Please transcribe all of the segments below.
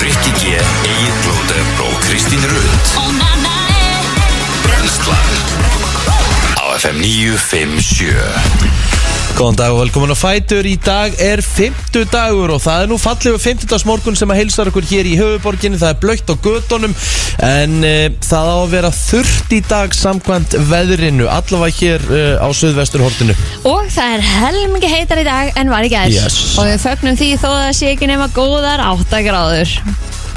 Rikki G, Egil Blóter og Kristín Rund Brenslan Á FM 957 Góðan dag og velkomin á Fætur. Í dag er fymtu dagur og það er nú fallegu fymtudagsmorgun sem að heilsa okkur hér í höfuborginni. Það er blökt á gödunum en e, það á að vera þurft í dag samkvæmt veðrinu, allavega hér e, á söðvesturhortinu. Og það er helmingi heitar í dag en var í gæðs Yes. Og við fögnum því þó að það sé ekki nema góðar 8 gráður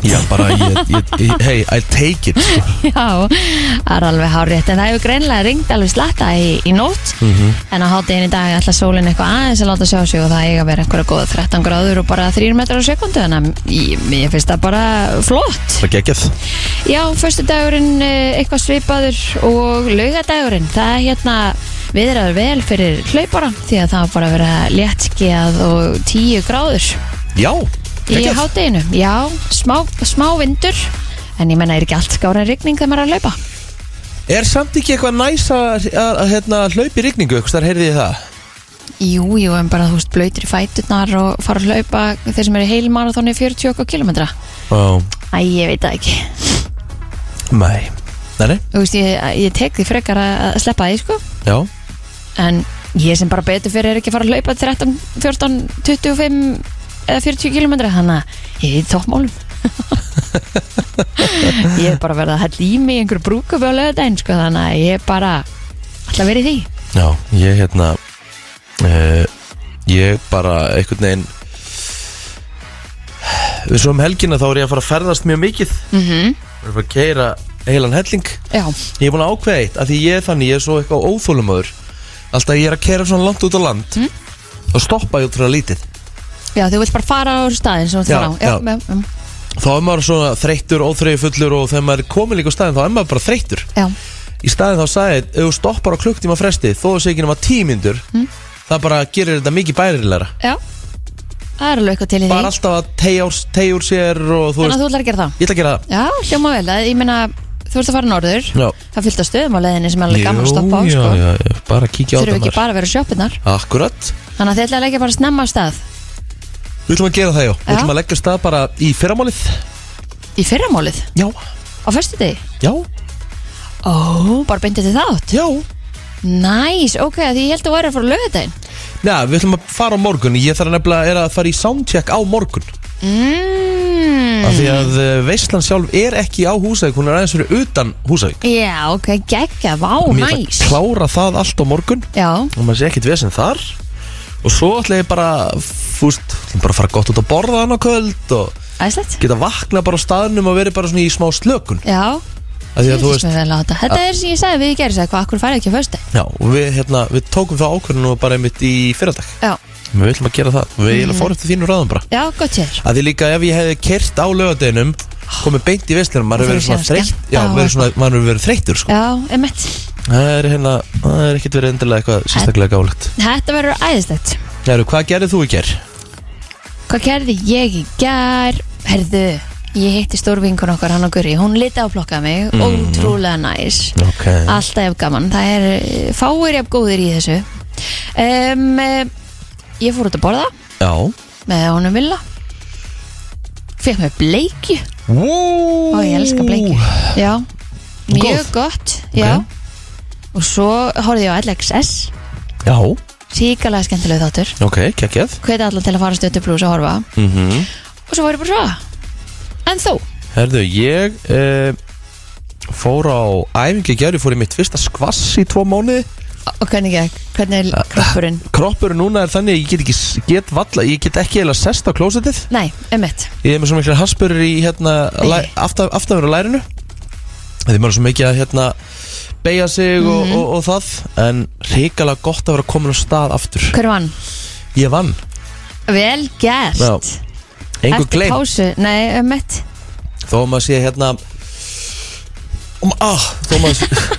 Já, bara, ég, ég, ég, hey, I'll take it. sko. Já, það er alveg hárétt En það hefur greinlega ringt alveg slatta í, í nótt En á hátíðin í dag ætla sólin eitthvað aðeins að láta sjá sig Og það eiga að vera eitthvað góða 13 gráður og bara 3 metrar á sekundu Þannig að ég- mér finnst það bara flott Það geggjað. Já, förstu dagurinn eitthvað svipaður og laugadagurinn, það er hérna viðraður vel fyrir hlaupara því að það var bara að vera léttskjað og tíu gráður Já, í geggjað. hátteginu. Já, smá, smá vindur, en ég menna er ekki allt skára rigning þegar maður er að hlaupa. Er samt ekki eitthvað næs að, að, að hérna, hlaupi rigningu, eitthvað þar heyrði ég það? Jú, jú, en bara þú veist blöytir í fæturnar og fara að hlaupa þeir sem eru í heilmarathoni 40 okkur kilometra. Ó, Æ, ég veit það ekki. mæ. Nei, nei, Þú veist, ég, ég tek því frekar að að sleppa því, sko. já. en ég sem bara betur fyrir er ekki að fara að laupa 13, 14, 25 eða 40 km þannig að ég er í toppmálum ég er bara verið að hella í mig í einhverju brúkup á lögadaginn sko, þannig að ég er bara alltaf verið því Já, ég hérna, uh, ég bara einhvern veginn, við svo um helgina þá er ég að fara að ferðast mjög mikið, mm -hmm. ég er að fara að keira heilan helling. já, Ég er búin að ákveða eitt, að því ég er þannig, ég er svo eitthvað óþólumöður, alltaf ég er að keira svona langt út á land, þá stoppa ég út frá lítið. já, þú vilt bara fara á staðin sem þú ert að fara á Já, já. já, já, Þá er maður svona þreyttur, óþreyju fullur og þegar maður er komin líka á staðin þá er maður bara þreyttur. já, í staðin þá sagði ég, ef þú stoppar á klukktíma fresti þó þessi ekki nema tímindur mm. það bara gerir þetta mikið bærilega já það er alveg eitthvað til í því bara alltaf að teygja úr- teygja úr sér og þú þannig að veist, þú ætlar að gera það ég ætla að gera það já, hljóma vel, að- ég meina þú ert að fara norður Já. það fylgta stöðum á leiðinni sem er alveg gaman að stoppa á já, sko. já, já, bara að kíkja á þurfum það ekki maður bara að vera sjópinnar Akkurat, Þannig að þið ætlaði ekki að fara snemma af stað við ætlum að gera það já Við Já. ætlum að leggja af stað bara í fyrramálið í fyrramálið Já, á fyrstu degi. já, Ó, bara beintið til þátt. já Næs, ok, því ég held að væri að fara að lögða þeim. Já, við ætlum að fara á morgun Ég þarf nefnilega er að fara í soundcheck á morgun mm. Mm. Af því að eh, veislan sjálf er ekki á Húsavík Hún er aðeins fyrir utan Húsavík Já, ok, geggja, vá, Mér ætla næs. að klára það allt á morgun Já, og maður sé ekkert vesen þar og svo ætla ég bara fúst, ætla bara að fara gott út að borða hann á kvöld og æslegt. geta vakna bara á staðnum og verið bara svona í smá slökun Já, af því að þú veist, fylgist mér vel á þetta. Þetta er sem ég sagði við í gerðis eitthvað, akkur færið ekki að fyrstu. já, og við, hérna, við tókum það ákvörðinu bara einmitt í fyrardag Já, við ætlum að gera það, Mhm. við mm. fórum eftir þínu ráðum bara já, gott sér. að því líka ef ég hefði kert á lögadeginum komið beint í veslinum, maður hefur verið Þú svona hefur séð þreytt skemmt- já, Já, verið svona, maður hefur verið þreyttur sko. Já, emitt. það er hérna, það er ekkert verið endilega eitthvað sérstaklega gálegt Þetta verður æðislegt. Heru, hvað gerðið þú í ger? Hvað gerði ég í gær? Herðu, ég hitti stórvinkun okkar, hann og Guri. Hún liti áflokkaði mig, Mhm. ótrúlega næs. Okay. Alltaf jafn gaman, það er eh, fáir jafn góðir í þessu um, Ég fór út að borða Já með honum Villa Fekk mér bleikju Ó, Ó, ég elska bleikju Já, mjög gott Já Og svo horfði ég á LXS Já Sýkalega skemmtilega þáttur Ok, kekkjað Hveti allan til að fara stötu blús að horfa mm Mhm. -hmm. Og svo var ég bara svo En þú? Herðu, ég uh, fór á æfingi gerði, fór í mitt fyrsta skvass í tvo mánuði Og hvernig gekk? Hvernig er kroppurinn? Kroppur núna er þannig að ég get ekki, s- get valla, ég get ekki eða sest á klósetið Nei, um emmitt Ég er með svo mikla haspurur í hérna, læ, aftaf, aftafur á lærinu Því maður er svo mikið að hérna beigja sig og, og, og það En hrikalega gott að vera komin á stað aftur Hver vann? Ég vann, Vel gert Já, engu Eftir gleym pásu, nei, um emmitt Þó að maður sé hérna um, ah, Þó að maður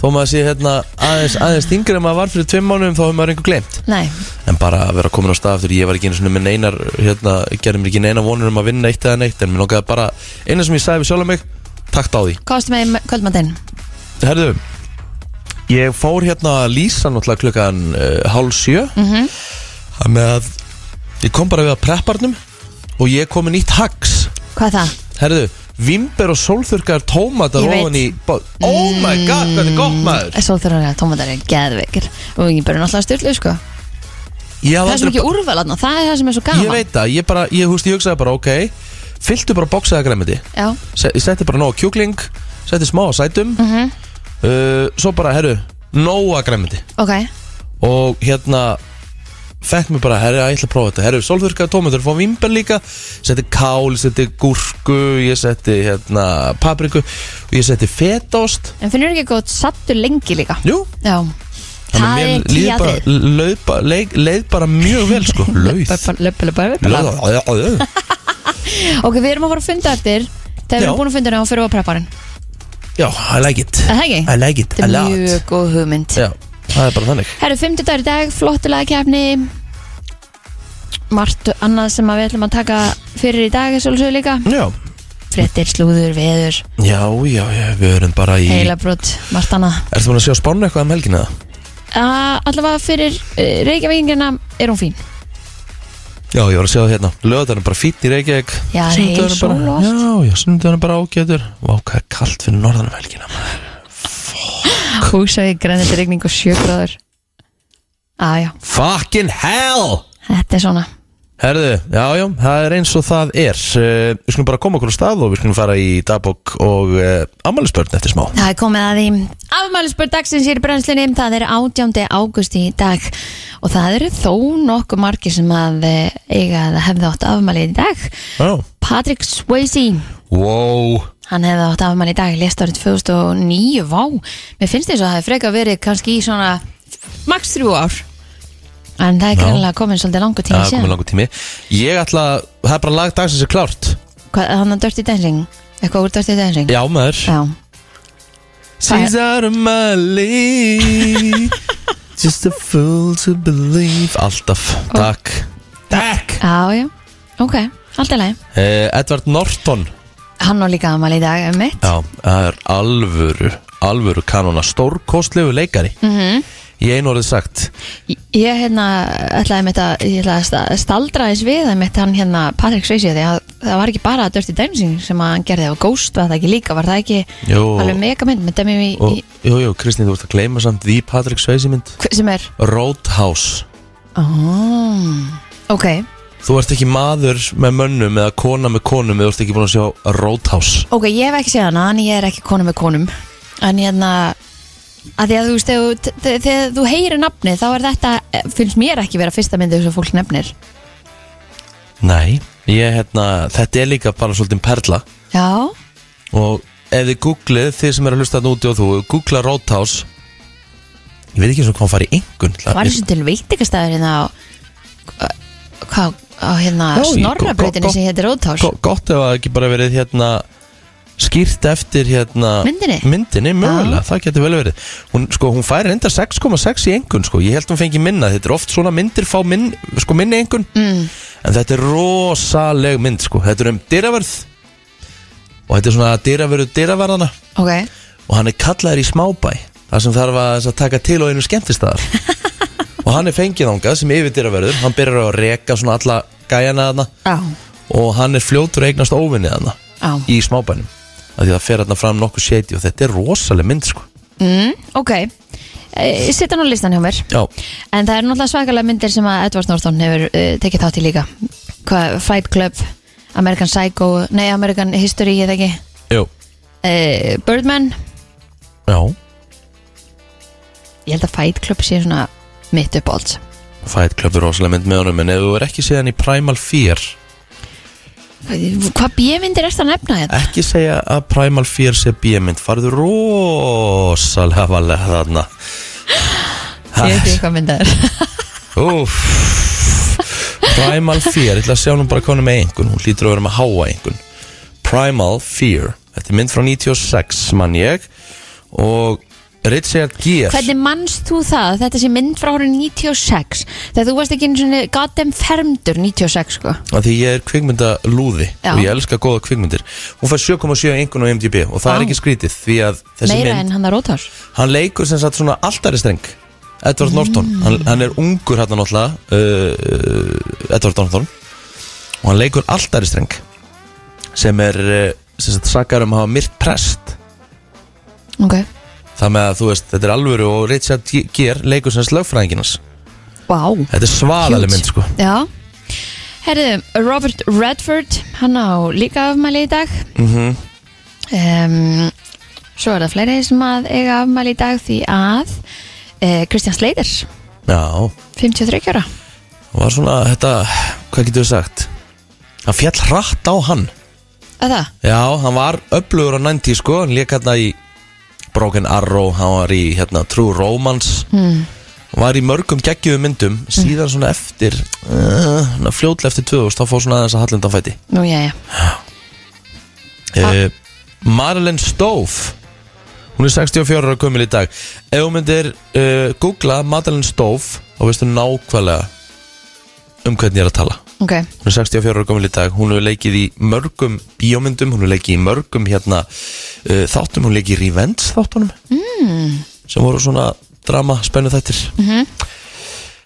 Þó að maður sé hérna aðeins, aðeins þingri en maður var fyrir tveim mánuðum þá hefur maður einhver glemt Nei, En bara að vera komin á stað aftur Ég var ekki einu svona með neinar hérna, Gerði mér ekki neinar vonur um að vinna eitt eða neitt En mér langaði bara Einu sem ég sagði við sjálf mig Takt á því Hvað varstu með í kvöldmatinn? Herðu Ég fór hérna að lýsa náttúrulega klukkan uh, Hálf sjö Þannig að Ég kom bara við að prepparnum Og ég kom með nýtt hags Hvað er það? Herðu, vimber og sólþurkar tómatar Ég veit. Mm. ofan í bó- Oh my god, hvað er gott maður Sólþurrarlega tómatar er geðveikir Og ég bara náttúrulega styrlu sko Ég hef Það er svo aldrei- mikið úrvalatna, það er það sem er svo gaman Ég veit það, ég bara, ég húst, ég hugsaði bara, ok Fylltu bara bóksaða græmiti Já, Ég setti bara nóg af kjúkling Setti smá að Mm. sætum Mhm. uh, Svo bara, herru, nóg að græmiti ok Og hérna Fekk mér bara, herru, ég ætla að prófa þetta Herru, sólþurkaði tómatur, fóðum vimber líka Setti kál, setti gúrku Ég setti, hérna, papriku Og ég setti fetaost En finnur ekki góð sattur lengi líka Jú, Já að Það er mér líður bara- kýjaðið laug bara- leið- Leið bara mjög vel, sko Lauð Löppa, löppa, löppa Lauð Ok, við erum að fara að funda eftir Þegar við Já. erum búin að funda hérna og fyrir að preppa hann Já, I like it Er það ekki? I like it a Þetta lot er mjög góð hugmynd Já, það er bara þannig Herru, 50 dagur í dag, flottulega kefni Margt annað sem að við ætlum að taka fyrir í dag er svolítið líka Já, Frettir, slúður, veður, já, já, já við erum bara í heilabrót, margt annað Ertu búin að sjá spánu eitthvað um helgina? Uh, allavega fyrir uh, Reykjavíkingina er hún fín Já, ég var að sjá það hérna Löðan er bara fýtt í Reykjavík Já, það Sunnudagurinn er heil sól og bara, allt. Já, já, sunnudagur er bara ágætur Vá, hvað er kalt fyrir norðan um helgina maður. Húsavík, grænandi regning og sjögráður Aja, Fucking hell þetta er svona Herðu, já, já, það er eins og það er Eh, Við skulum bara koma okkur á stað og við skulum fara í dagbók og uh, ammælisbörn eftir smá Það er komið að því afmælisbörn dagsins hér í brennslunni, það er 18. águst í dag og það eru þó nokkuð margir sem að eh, eiga að hefði átt afmæli í dag Já, Patrick Swayze wow Hann hefði átt afmæli í dag, lest árið 2009, vá, mér finnst þess að það hefði frekar verið kannski í svona max þrjú ár En það er Já. greinlega komin svolítið langur tíma Það er síðan komin langur tími Ég ætla, að- það er bara lag dagsins er klárt Hvað, hann að Dirty Dancing? Eitthvað úr Dirty Dancing? Já, maður Já. She's out of my league Just a fool to believe Alltaf, takk Takk Já, já. Ok, allt er leið. eh, Edvard Norton Hann á líka amal í dag, um mitt. Já, það er alvöru Alvöru kanona, stórkostlegu leikari mm -hmm. Í einu orðið sagt Ég, ég hérna, ætlaði mitt að, ég ætlaði að sta- staldra eins við að mitt hann hérna Patrick Swayze því að það var ekki bara Dirty Dancing sem að hann gerði og Ghost var það ekki líka, var það ekki Jú. alveg mega mynd með Demi í, Og, í, jú, jú, Kristín, þú ert að gleyma samt Því Patrik Sveisi mynd hver- sem er Roadhouse oh, Ok, Þú ert ekki maður með mönnum eða kona með konum eða þú ert ekki búin að sjá Roadhouse ok, ég hef ekki séð hana en ég er ekki konum með konum en hérna að því að þú veist, þegar þú- þe- þegar þú heyrir nafnið þá er þetta, eh, finnst mér ekki vera fyrsta myndið sem fólk nefnir Nei, ég hérna, þetta er líka bara svolítið perla Já, og ef þið googlið, þið sem eru að hlusta þarna úti og þú, googla Roadhouse ég veit ekki eins og hvað hann fari í engun það var eins og til veitingastæður hérna á eh, hvað, á hérna Já, í- snorrabrautinni gott- sem heitir Róðtás gott ef það ekki bara verið hérna skýrt eftir hérna Myndinni? mögulega, Já. það getur vel verið hún, sko, hún færi enda 6,6 í engun sko. ég held hún fengi minna, þetta er oft svona myndir fá minn, sko, minni engun mm. en þetta er rosaleg mynd sko. þetta er um dyraverð og þetta er svona dyraverðu dyraverðana Ok, og hann er kallaður í smábæ þar sem þarf að, að taka til á einu skemmtistaðar og hann er fengið þangað sem yfirdýraverður, hann byrjar á að reka svona alla gæjana þarna á, og hann er fljótur að eignast óvinnið þarna á í smábænum af því það fer þarna fram nokkuð séti og þetta er rosaleg mynd sko mm, Ok, Eh, sitta nú listan hjá mér Já, En það er náttúrulega svakalega myndir sem að Edward Norton hefur uh, tekið þátt í líka Hvað, Fight Club, American Psycho Nei, American History, ég það ekki jú, uh, Birdman já Ég held að Fight Club sé svona mitt upp alls Fight Club er rosaleg mynd með honum en ef þú er ekki séðan í Primal Fear Hvað bjömyndir er það að nefna hérna? þetta? ekki segja að Primal Fear sé bímynd farðu rosalega valega þarna Ég veit ekki hvað mynd það er Úf Primal Fear, ég ætla að sjá hún bara hvað hún er með einhvern Hún hlýtur að vera með háa einhvern Primal Fear Þetta er mynd frá 96 mann ég Og Richard Gere Hvernig mannst þú það? Þetta sé mynd frá árið 96 Þegar þú varst ekki einu svona goddamn fermdur 96 sko Af Því ég er kvikmynda lúði Já. Og ég elska góða kvikmyndir Hún fær 7,7 einhvern á MDB Og það Vá. er ekki skrítið Því að þessi Meira mynd en Mm. hann að rótás Hann leikur sem sagt svona alltari streng Edward Norton hann, hann er ungur hérna náttúrulega uh, uh, Edward Norton Og hann leikur alltari streng sem er eh, sem sagt, sakar um að hafa myrt prest ok, það með að þú veist, þetta er alvöru og Richard G- Gere leikur sem slögfræðinginas vá þetta er Huge. svaðaleg mynd sko Já Herðu, Robert Redford hann á líka afmæli í dag mm -hmm. Svo er það fleiri sem að eiga afmæli í dag því að eh, Kristján Sleiter, já, 53 ára var svona þetta, hvað getur við sagt hann fjall hratt á hann að það, já, hann var öflugur á 90 sko hann lék hérna í Broken Arrow hann var í hérna, True Romance mm. hann var í mörgum geggjöfum myndum síðan svona eftir uh, fljótlega eftir 2000 þá fór svona aðeins að hallendan fæti nú já, já uh, Marlon Stoff hún er 64 ára komil í dag ef hún myndir uh, googla Marlon Stoff þá veistu nákvæmlega um hvernig ég er að tala ok, hún er 64 ára komil í dag, hún hefur leikið í mörgum bíómyndum, hún hefur leikið í mörgum hérna uh, þáttum, hún leikið í Revenge þáttunum mm. sem voru svona drama, spennu þættir -hmm. Mhm.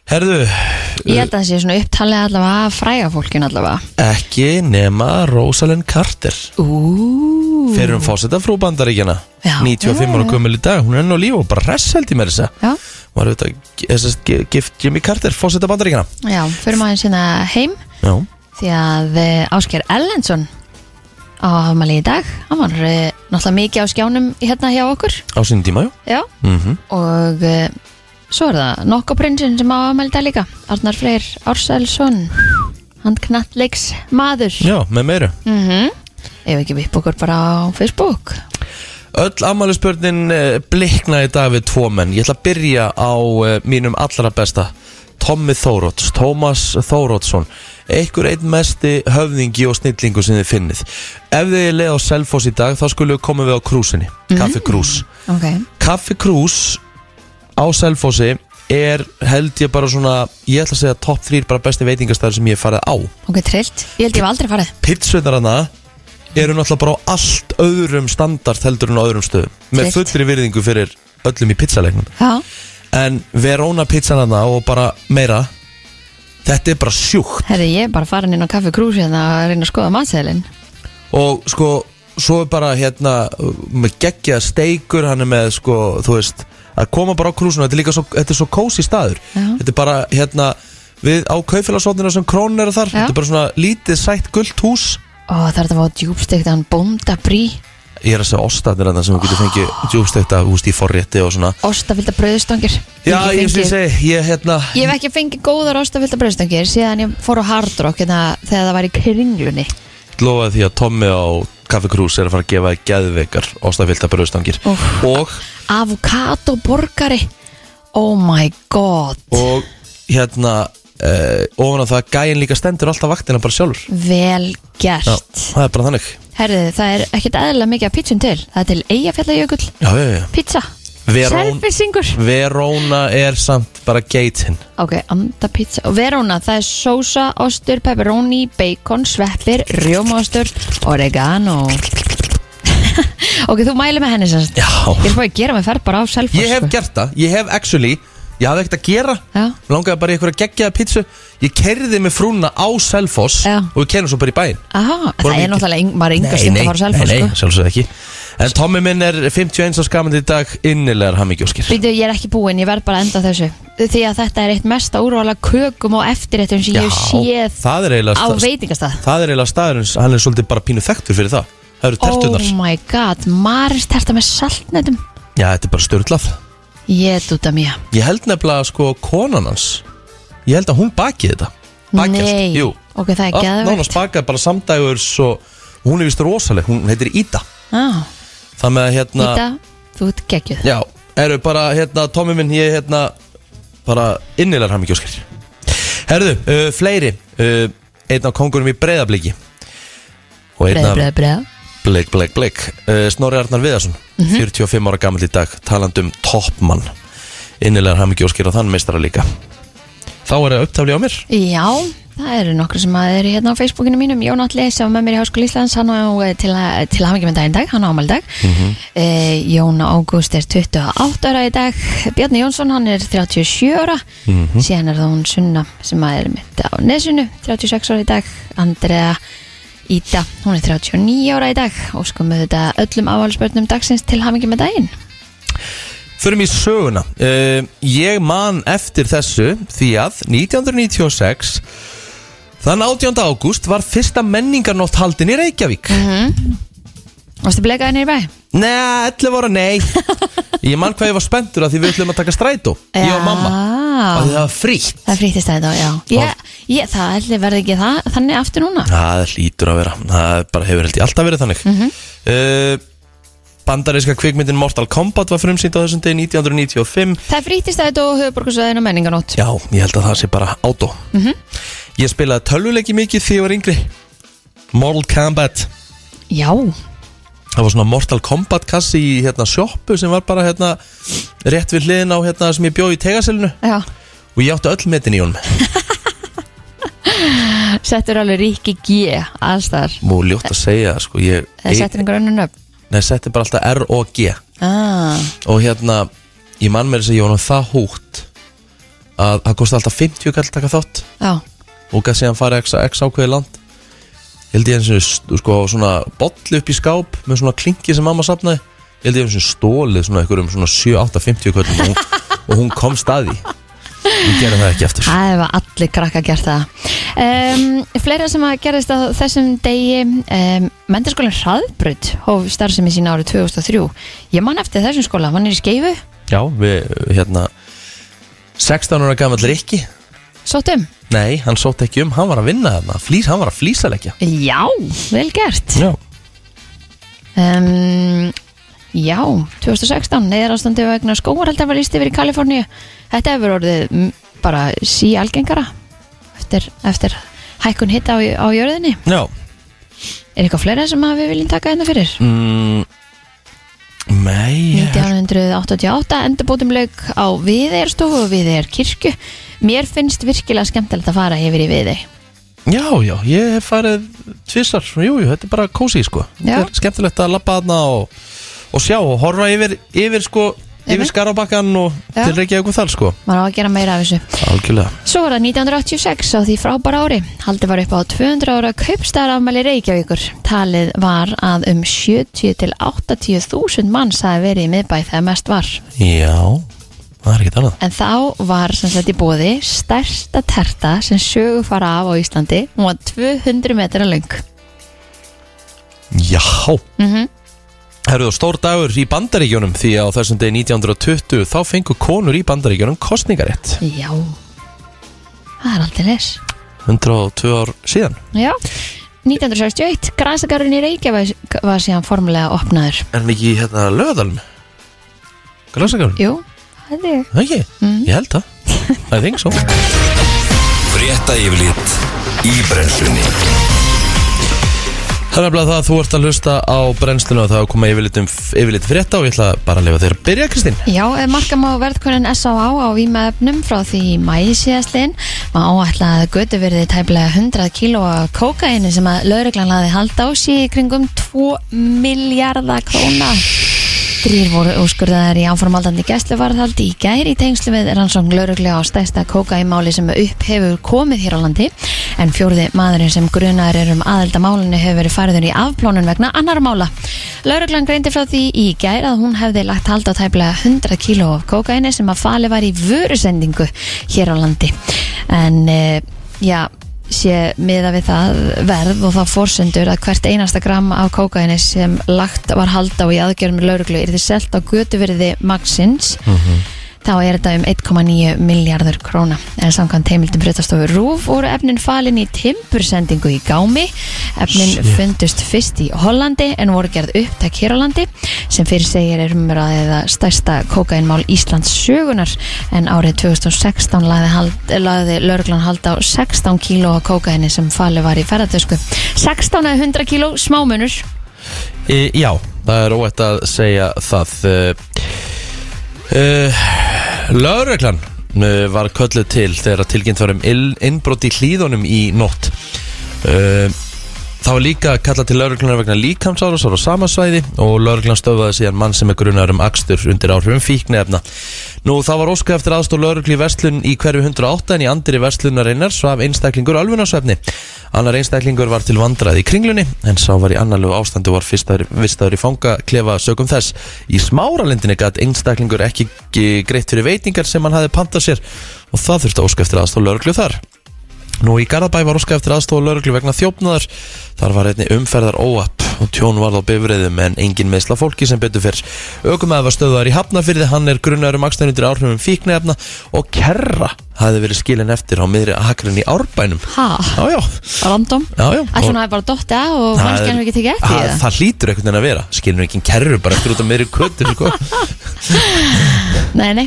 Herðu ég held að það sé svona upptalið allavega af fræga fólkin allavega ekki nema Rosalind Carter Ú, fyrir um fósetta frú bandaríkjana Já. 95 ára Já, já. komil í dag, hún er enn á líf og bara resseldi með þessa já, hún var auðvitað eh, þess að gift Jimmy Carter fósetta bandaríkjana já, fyrir maður sinna heim Já, því að eh, Ásgeir Ellensson á afmæli í dag hann var eh, náttúrulega mikið á skjánum hérna hjá okkur á sínum tíma, jú Já, mm -hmm. og uh, svo er það nokkaprinsinn sem á afmæli í dag líka Arnar Freyr Ársælsson hann knattleiks maður Já, með meiru mm ef ekki við okkur bara á Facebook Öll afmælisbörnin eh, blikna í dag við tvo menn. Ég ætla að byrja á eh, mínum allra besta. Tommi Þórótts, Tómas Þóróttsson. Ekkur einn mesti höfðingi og snillingu sem þið finnið. Ef þið er leið á Selfoss í dag, þá skulum við koma við á krúsinni. Kaffi krús. ok, Kaffi krús á Selfossi er held ég bara svona, ég ætla að segja topp 3 bara besti veitingastæður sem ég hef farið á. ok, trillt ég held ég hef aldrei farið Pitsveitar hana eru náttúrulega bara á allt öðrum standard heldur en á öðrum stöðum með Rétt. fullri virðingu fyrir öllum í pizzalegnum já, en Verona pizzan hana og bara meira þetta er bara sjúkt hefði ég er bara farin inn á kaffi krús hérna að reyna að skoða matseðlin og sko, svo er bara hérna með geggja steikur hann er með sko, þú veist að koma bara á krúsuna, þetta er líka svo, þetta er svo kósi staður Já. þetta er bara hérna við á kaufélagsvotnina sem krónun eru þar Já. þetta er bara svona lítið sætt gullt hús og það er það að fá djúbstegt hann bónda brí ég er að segja ostatnir hann sem þú getur fengið djúbstekta húst í forrétti og svona ostafylda bröðstangir já, ég finnst ég segi, ég hérna Ég hef ekki fengið góðar ástafylda bröðstangir síðan ég fór á Hard Rock hérna, þegar það var í kringlunni lofaði því að Tommi á Kaffi Krús er að fara að gefa þig geðveikar ástafylta bröðstangir Úff. og, avokado borgari oh my god og hérna uh, ofan á það gæin líka stendur alltaf vaktina bara sjálfur vel Já, gert það er bara þannig herðu það er ekkert eðlilega mikið að pizzum til það er til eigafjallajökull, Já, já, já pizza Verón, serfisingur Verona er samt bara geitinn ok, andapizza og Verona, það er sósa, ostur, pepperoni bacon, sveppir, rjómaostur oregano ok, þú mæli með henni sérst Já ég er búin að gera mig ferð bara á selfos Ég hef gert það, ég hef actually Ég hafði ekkert að gera Já. Mig Langaði bara í eitthvað að gegja pítsu Ég kerði með frúna á Selfoss Já. Og við kerðum svo bara í bæinn Aha, Vorum það er við- náttúrulega, yng- maður er yngast að fara á selfos nei, sko. nei, sjálfsög ekki En Tommi minn er 51 á skamandi í dag Innilegar hammingjóskir Býtu, ég er ekki búinn, ég verð bara að enda á þessu Því að þetta er eitt mesta úrvala kökum og eftirréttum sem ég hef séð það er eiginlega á sta- veitingastað Það er eiginlega staðurinn Hann er svolítið bara pínu þekktur fyrir það Það eru tertunar Oh my god, Marist terta með saltnetum Já, þetta er bara störtlað Ég dúta mér Ég held nefnilega sko konan hans Ég held að hún bakið þetta Bakjast, Nei, jú ok, það er Allt Nánast geðvegt bakaði bara samdægur svo Hún er vist rosaleg, hún heitir Ída ah, Það með að hérna Íta, þú ert geggjuð Já, eru bara hérna Tommi minn, ég hérna Bara innilegar hann ekki óskil Herðu, uh, fleiri uh, Einn af kongurum í breyðabliki Og einn Breða, af breða, breða Bleik, bleik, bleik uh, Snorri Arnar Viðarsson 45 ára gammal í dag Talandum toppmann Innilegar hamingjóskir og þann meistara líka Þá er það upptafli á mér Já, það eru nokkru sem að eru hérna á Facebookinu mínum Jón Atli sem var með mér í Háskóli Íslands hann á eh, til, að- til hafingi með daginn dag, hann á ámaldag mm Mhm. Jón Ágúst er 28 ára í dag Bjarni Jónsson hann er 37 ára Mhm. síðan er það hún Sunna sem að er mitt á nesunu 36 ára í dag Andrea Ída, hún er 39 ára í dag og skum við þetta öllum áhaldsbörnum dagsins til hamingi með daginn Förum í söguna uh, Ég man eftir þessu því að 1996 Þann 18. ágúst var fyrsta menningarnótt haldin í Reykjavík Varstu blekaði nýri bæ? Nei, 11 ára, nei Ég man hvað ég var spenntur að því við ætlum að taka strætó Ég og mamma Já. Og því það var frítt Það frýttist þetta, já ég, ég, Það ætli verði ekki það, þannig aftur núna Það lítur að vera Það bara hefur held ég alltaf verið þannig mm Bandaríska kvikmyndin Mortal Kombat var frumsýnd á þessum degi 1995 Það frýttist þetta og höfuborgarsöðin og menninganót Já, ég held að það sé bara átó Ég spilaði tölvuleiki mikið því ég var yngri Mortal Kombat Já, Það var svona Mortal Kombat kassi í hérna sjoppu sem var bara hérna rétt við hliðin á hérna sem ég bjóð í tegaselinu já og ég átti öll metin í honum Settur alveg ríki G alls þar og ljótt að segja það, sko ég, Eða settur einhver önnur nöfn Nei, setti bara alltaf R-O-G ah. og hérna ég man mér þess að ég var nú það hútt að það kosti alltaf 50 kall að taka þátt Já, og gæti síðan farið x, x ákveði land ég held ég eins og st- sko, svona boll upp í skáp með svona klingi sem mamma sapnaði ég held ég eins og stólið svona ykkur um svona 7-8-50 kvöldum og, hún- og hún kom staði ég gerði það ekki eftir það var allir krakka gert það um, Fleira sem að gerðist á þessum degi um, Mendaskólinn Hraðbröð hóf starfsemi sína árið 2003 Ég man eftir þessum skóla, hann er í skeifu já, við hérna 16 ára gamall Rikki Sóttum nei, hann sótt ekki um, hann var að vinna þarna flýs, hann var að flýsa leggja Já, vel gert já, um, Já, 2016 neyðarástandi vegna skóaraldar var líst yfir í Kaliforníu Þetta hefur orðið mm, bara sí algengara eftir, eftir hækkun hitta á, á jörðinni já Er eitthvað fleira sem að við viljum taka hérna fyrir? mm, nei, 1988 endurbótum lauk á viðeirstofu og viðeir kirkju Mér finnst virkilega skemmtilegt að fara yfir í viðeir Já, já, ég hef farið tvissar, jú, jú, þetta er bara kósi sko Já. Þetta er skemmtilegt að labba þarna og, og sjá og horfa yfir, yfir sko, yfir Einmitt. skarabakkan og Já. til Reykjavík og þar sko Maður á að gera meira af þessu Algjörlega Svo var það 1986 á því frábæra ári. Haldið var upp á 200 ára kaupstæðarafmæli Reykjavíkur. Talið var að um 70 til 80 þúsund manns hafi verið í miðbæ þegar mest var. Já, það er ekkert annað En þá var sem sagt í bóði stærsta terta sem sögu fara af á Íslandi. Hún var 200 metra lung. Já mm Mhm. Herðu, stór dagur í Bandaríkjunum því að á þessum degi 1920 þá fengu konur í Bandaríkjunum kostningarétt Já, það er aldrei les. 102 ár síðan Já, 1961, græsagarinn í Reykjavík var síðan formulega opnaður. Er hann ekki hérna löðalum? Græsakarun? Jú, það er þig. Það ekki? Mhm. Ég held það I think so Frétta yfirlit í brennslunni Það er nefnilega það að þú ert að hlusta á brennsluna og það er að koma yfirlit, um, yfirlit frétta og ég ætla bara að lifa þér að byrja, Kristín. Já, ef marka má verðkunin S.A.A. á výmaöfnum frá því í mæði síðastlinn má áætla að götu verði tæplega 100 kíló af kókaini sem að lauruglan laði halda á sí í kringum 2 miljardar króna. Þrýr voru úrskurðaðar í áformaldandi gæsluvarðhaldi í gær í tengslu við rannsókn lauruglega á stærsta kókainmáli sem upp hefur komið hér á landi en fjórði maðurinn sem grunar er um aðelda málinu hefur verið færður í afplónun vegna annar mála. Lauruglan greindi frá því í gær að hún hefði lagt hald á tæplega 100 kíló af kókaini sem að fali var í vörusendingu hér á landi en eh, já sé miða við það verð og þá forsendur að hvert einasta gram af kókaini sem lagt var halda á í aðgjörum lauruglu er þið selt á götuverði magsins þá er þetta um 1,9 miljardur króna en samkvæmt heimildum breytastofu RÚF voru efnin falin í timbursendingu í gámi efnin Shit. fundust fyrst í Hollandi en voru gerð upptak hér á landi sem fyrir segir er umræðið að stærsta kókainmál Íslands sögunar en árið 2016 laði, hald, laði lörglan halda á 16 kíló af kókaini sem falið var í ferðartösku 16 eða 100 kíló smámunur E, já, það er óætt að segja það. Eh, E, Lögreglan e, var kölluð til þegar tilkynnt var um ill- innbrot í hlýðunum í nótt. E, Það var líka kallað til lauruglunar vegna líkamsárasar á sama svæði og lauruglan stöfaði síðan mann sem er grunar um akstur undir áhrifum fíknefna. Nú þá var óskað eftir aðstóð lauruglu í verslun í hverfi 108 en í andri verslunarinnar svaf einstaklingur alvunasvefni. Annar einstaklingur var til vandrað í kringlunni en sá var í annarlegu ástandu og var vistaður vistaður í fangaklefa sögum þess. Í smáralindinni gætt einstaklingur ekki ekki greitt fyrir veitingar sem hann hafði pantað sér og það þurfti að óska eftir aðstóð lauruglu þar. Nú í Garðabæ var óska eftir aðstofa lauruglu vegna þjófnaðar. Þar var einni umferðar óapp og tjón varð á bifriðum en engin meðsla fólki sem betur fyrr. Ökumæði var stöðar í hafnafyrði, hann er grunnar um akstunundir áhrifum fíknefna og kerra hafði verið skilin eftir á miðri akrin í árbænum. Ha, Já, já. random Já, já. Ætlum hann hafi bara dottið af og mannskjarnir hefur ekki tekið eftir það, í það það hlýtur einhvern veginn að vera Skilin ekki kerru bara eftir út af miðri köttu sko. Nei, nei.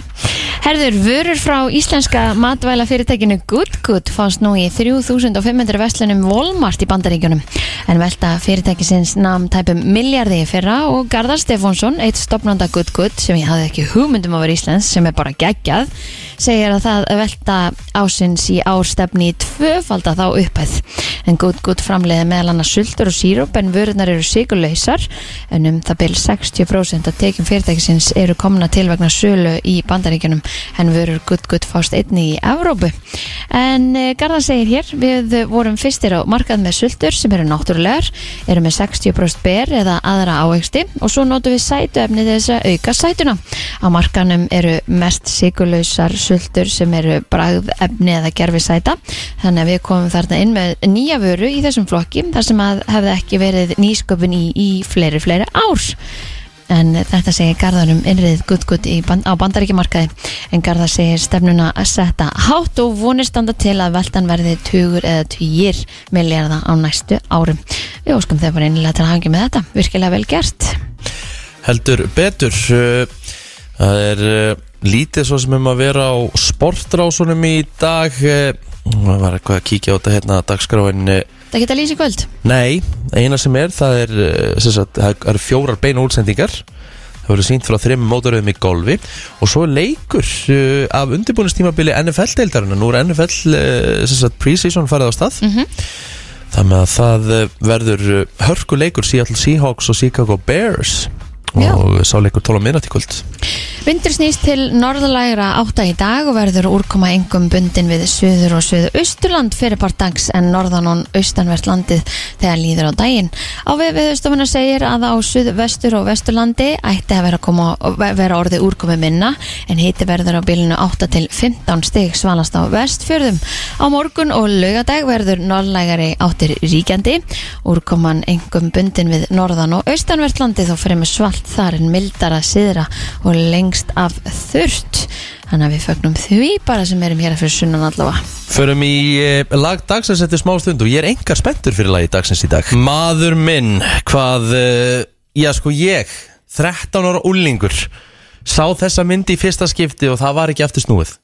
Herður, vörur frá íslenska matvæla fyrirtækinu Good Good fannst nú í 3500 verslunum Walmart í bandaríkjunum. En velta fyrirtækisins nam tæpum miljardi í fyrra og Garðar Stefánsson, eitt stopnanda Good Good sem ég hafði ekki hugmyndum að vera íslensk sem er bara geggjað, segir að það velta ásins í árstefni í tvöfalda þá upphæð. En Good Good framleiði meðal annars sultur og síróp en vörunar eru sigurlausar en um það byrjum 60% af tekjum fyrirtækisins eru komna til vegna sölu í bandaríkjunum en vörur Good Good fást einni í Evrópu. En eh, Garðar segir hér, við vorum fyrstir á markað með sultur sem eru náttúrulegar, eru með 60% ber eða aðra ávegsti og svo notum við sætuefni til þess að auka sætuna. Á markanum eru mest sigurlausar sultur sem eru bragðefni eða gerfi sæta þannig að við komum þarna inn með nýja vöru í þessum flokki þar sem að hefði ekki verið nýsköpun í, í fleiri fleiri ár en þetta segir Garðar um innriðið gutt gutt band, á bandaríkjumarkaði en Garðar segir stefnuna að setja hátt og vonir standa til að veltan verði tugur eða tugir milljarða á næstu árum við óskum þau bara innlega til að hangja með þetta virkilega vel gert Heldur betur uh, Það er uh, lítið svo sem um að vera á sportrásunum í dag uh, Það var eitthvað að kíkja á þetta hérna dagskráin uh, það geta lýsi kvöld Nei, eina sem er, það er, eh, sem sagt, það er fjórar beina útsendingar Það verður sínt frá þrejum mótaröðum í golfi Og svo er leikur uh, af undirbúinistímabili NFL-deildarinn Nú er NFL, uh, sem sagt, pre-season farið á stað Þannig að það eh, verður eh, hörkuleikur Seattle Seahawks og Chicago Bears Já. Og sá leikur 12 minúti í kvöld Vindur snýst til norðlægra átta í dag og verður úrkoma engum bundin við suður og suðu austurland fyrir part dags en norðan og austanvert landið þegar líður á daginn. Á við viðstofuna segir að á suðu vestur og vesturlandi ætti að vera, að koma, vera orðið úrkomi minna en hiti verður á bilinu 8 til 15 stig svalast á vestfjörðum. Á morgun og laugadag verður norðlægari áttir ríkjandi úrkoman engum bundin við norðan og austanvert landið og fremur svalt þar en mildara síðra og lengst af þurrt þannig að við fögnum því bara sem erum hér að fyrir sunnan allavega Förum í eh, lag dagsins eftir smá stund og ég er engar spenntur fyrir lagi dagsins í dag Maður minn, hvað, eh, já sko ég, 13 ára úlingur Sá þessa myndi í fyrsta skipti og það var ekki aftur snúið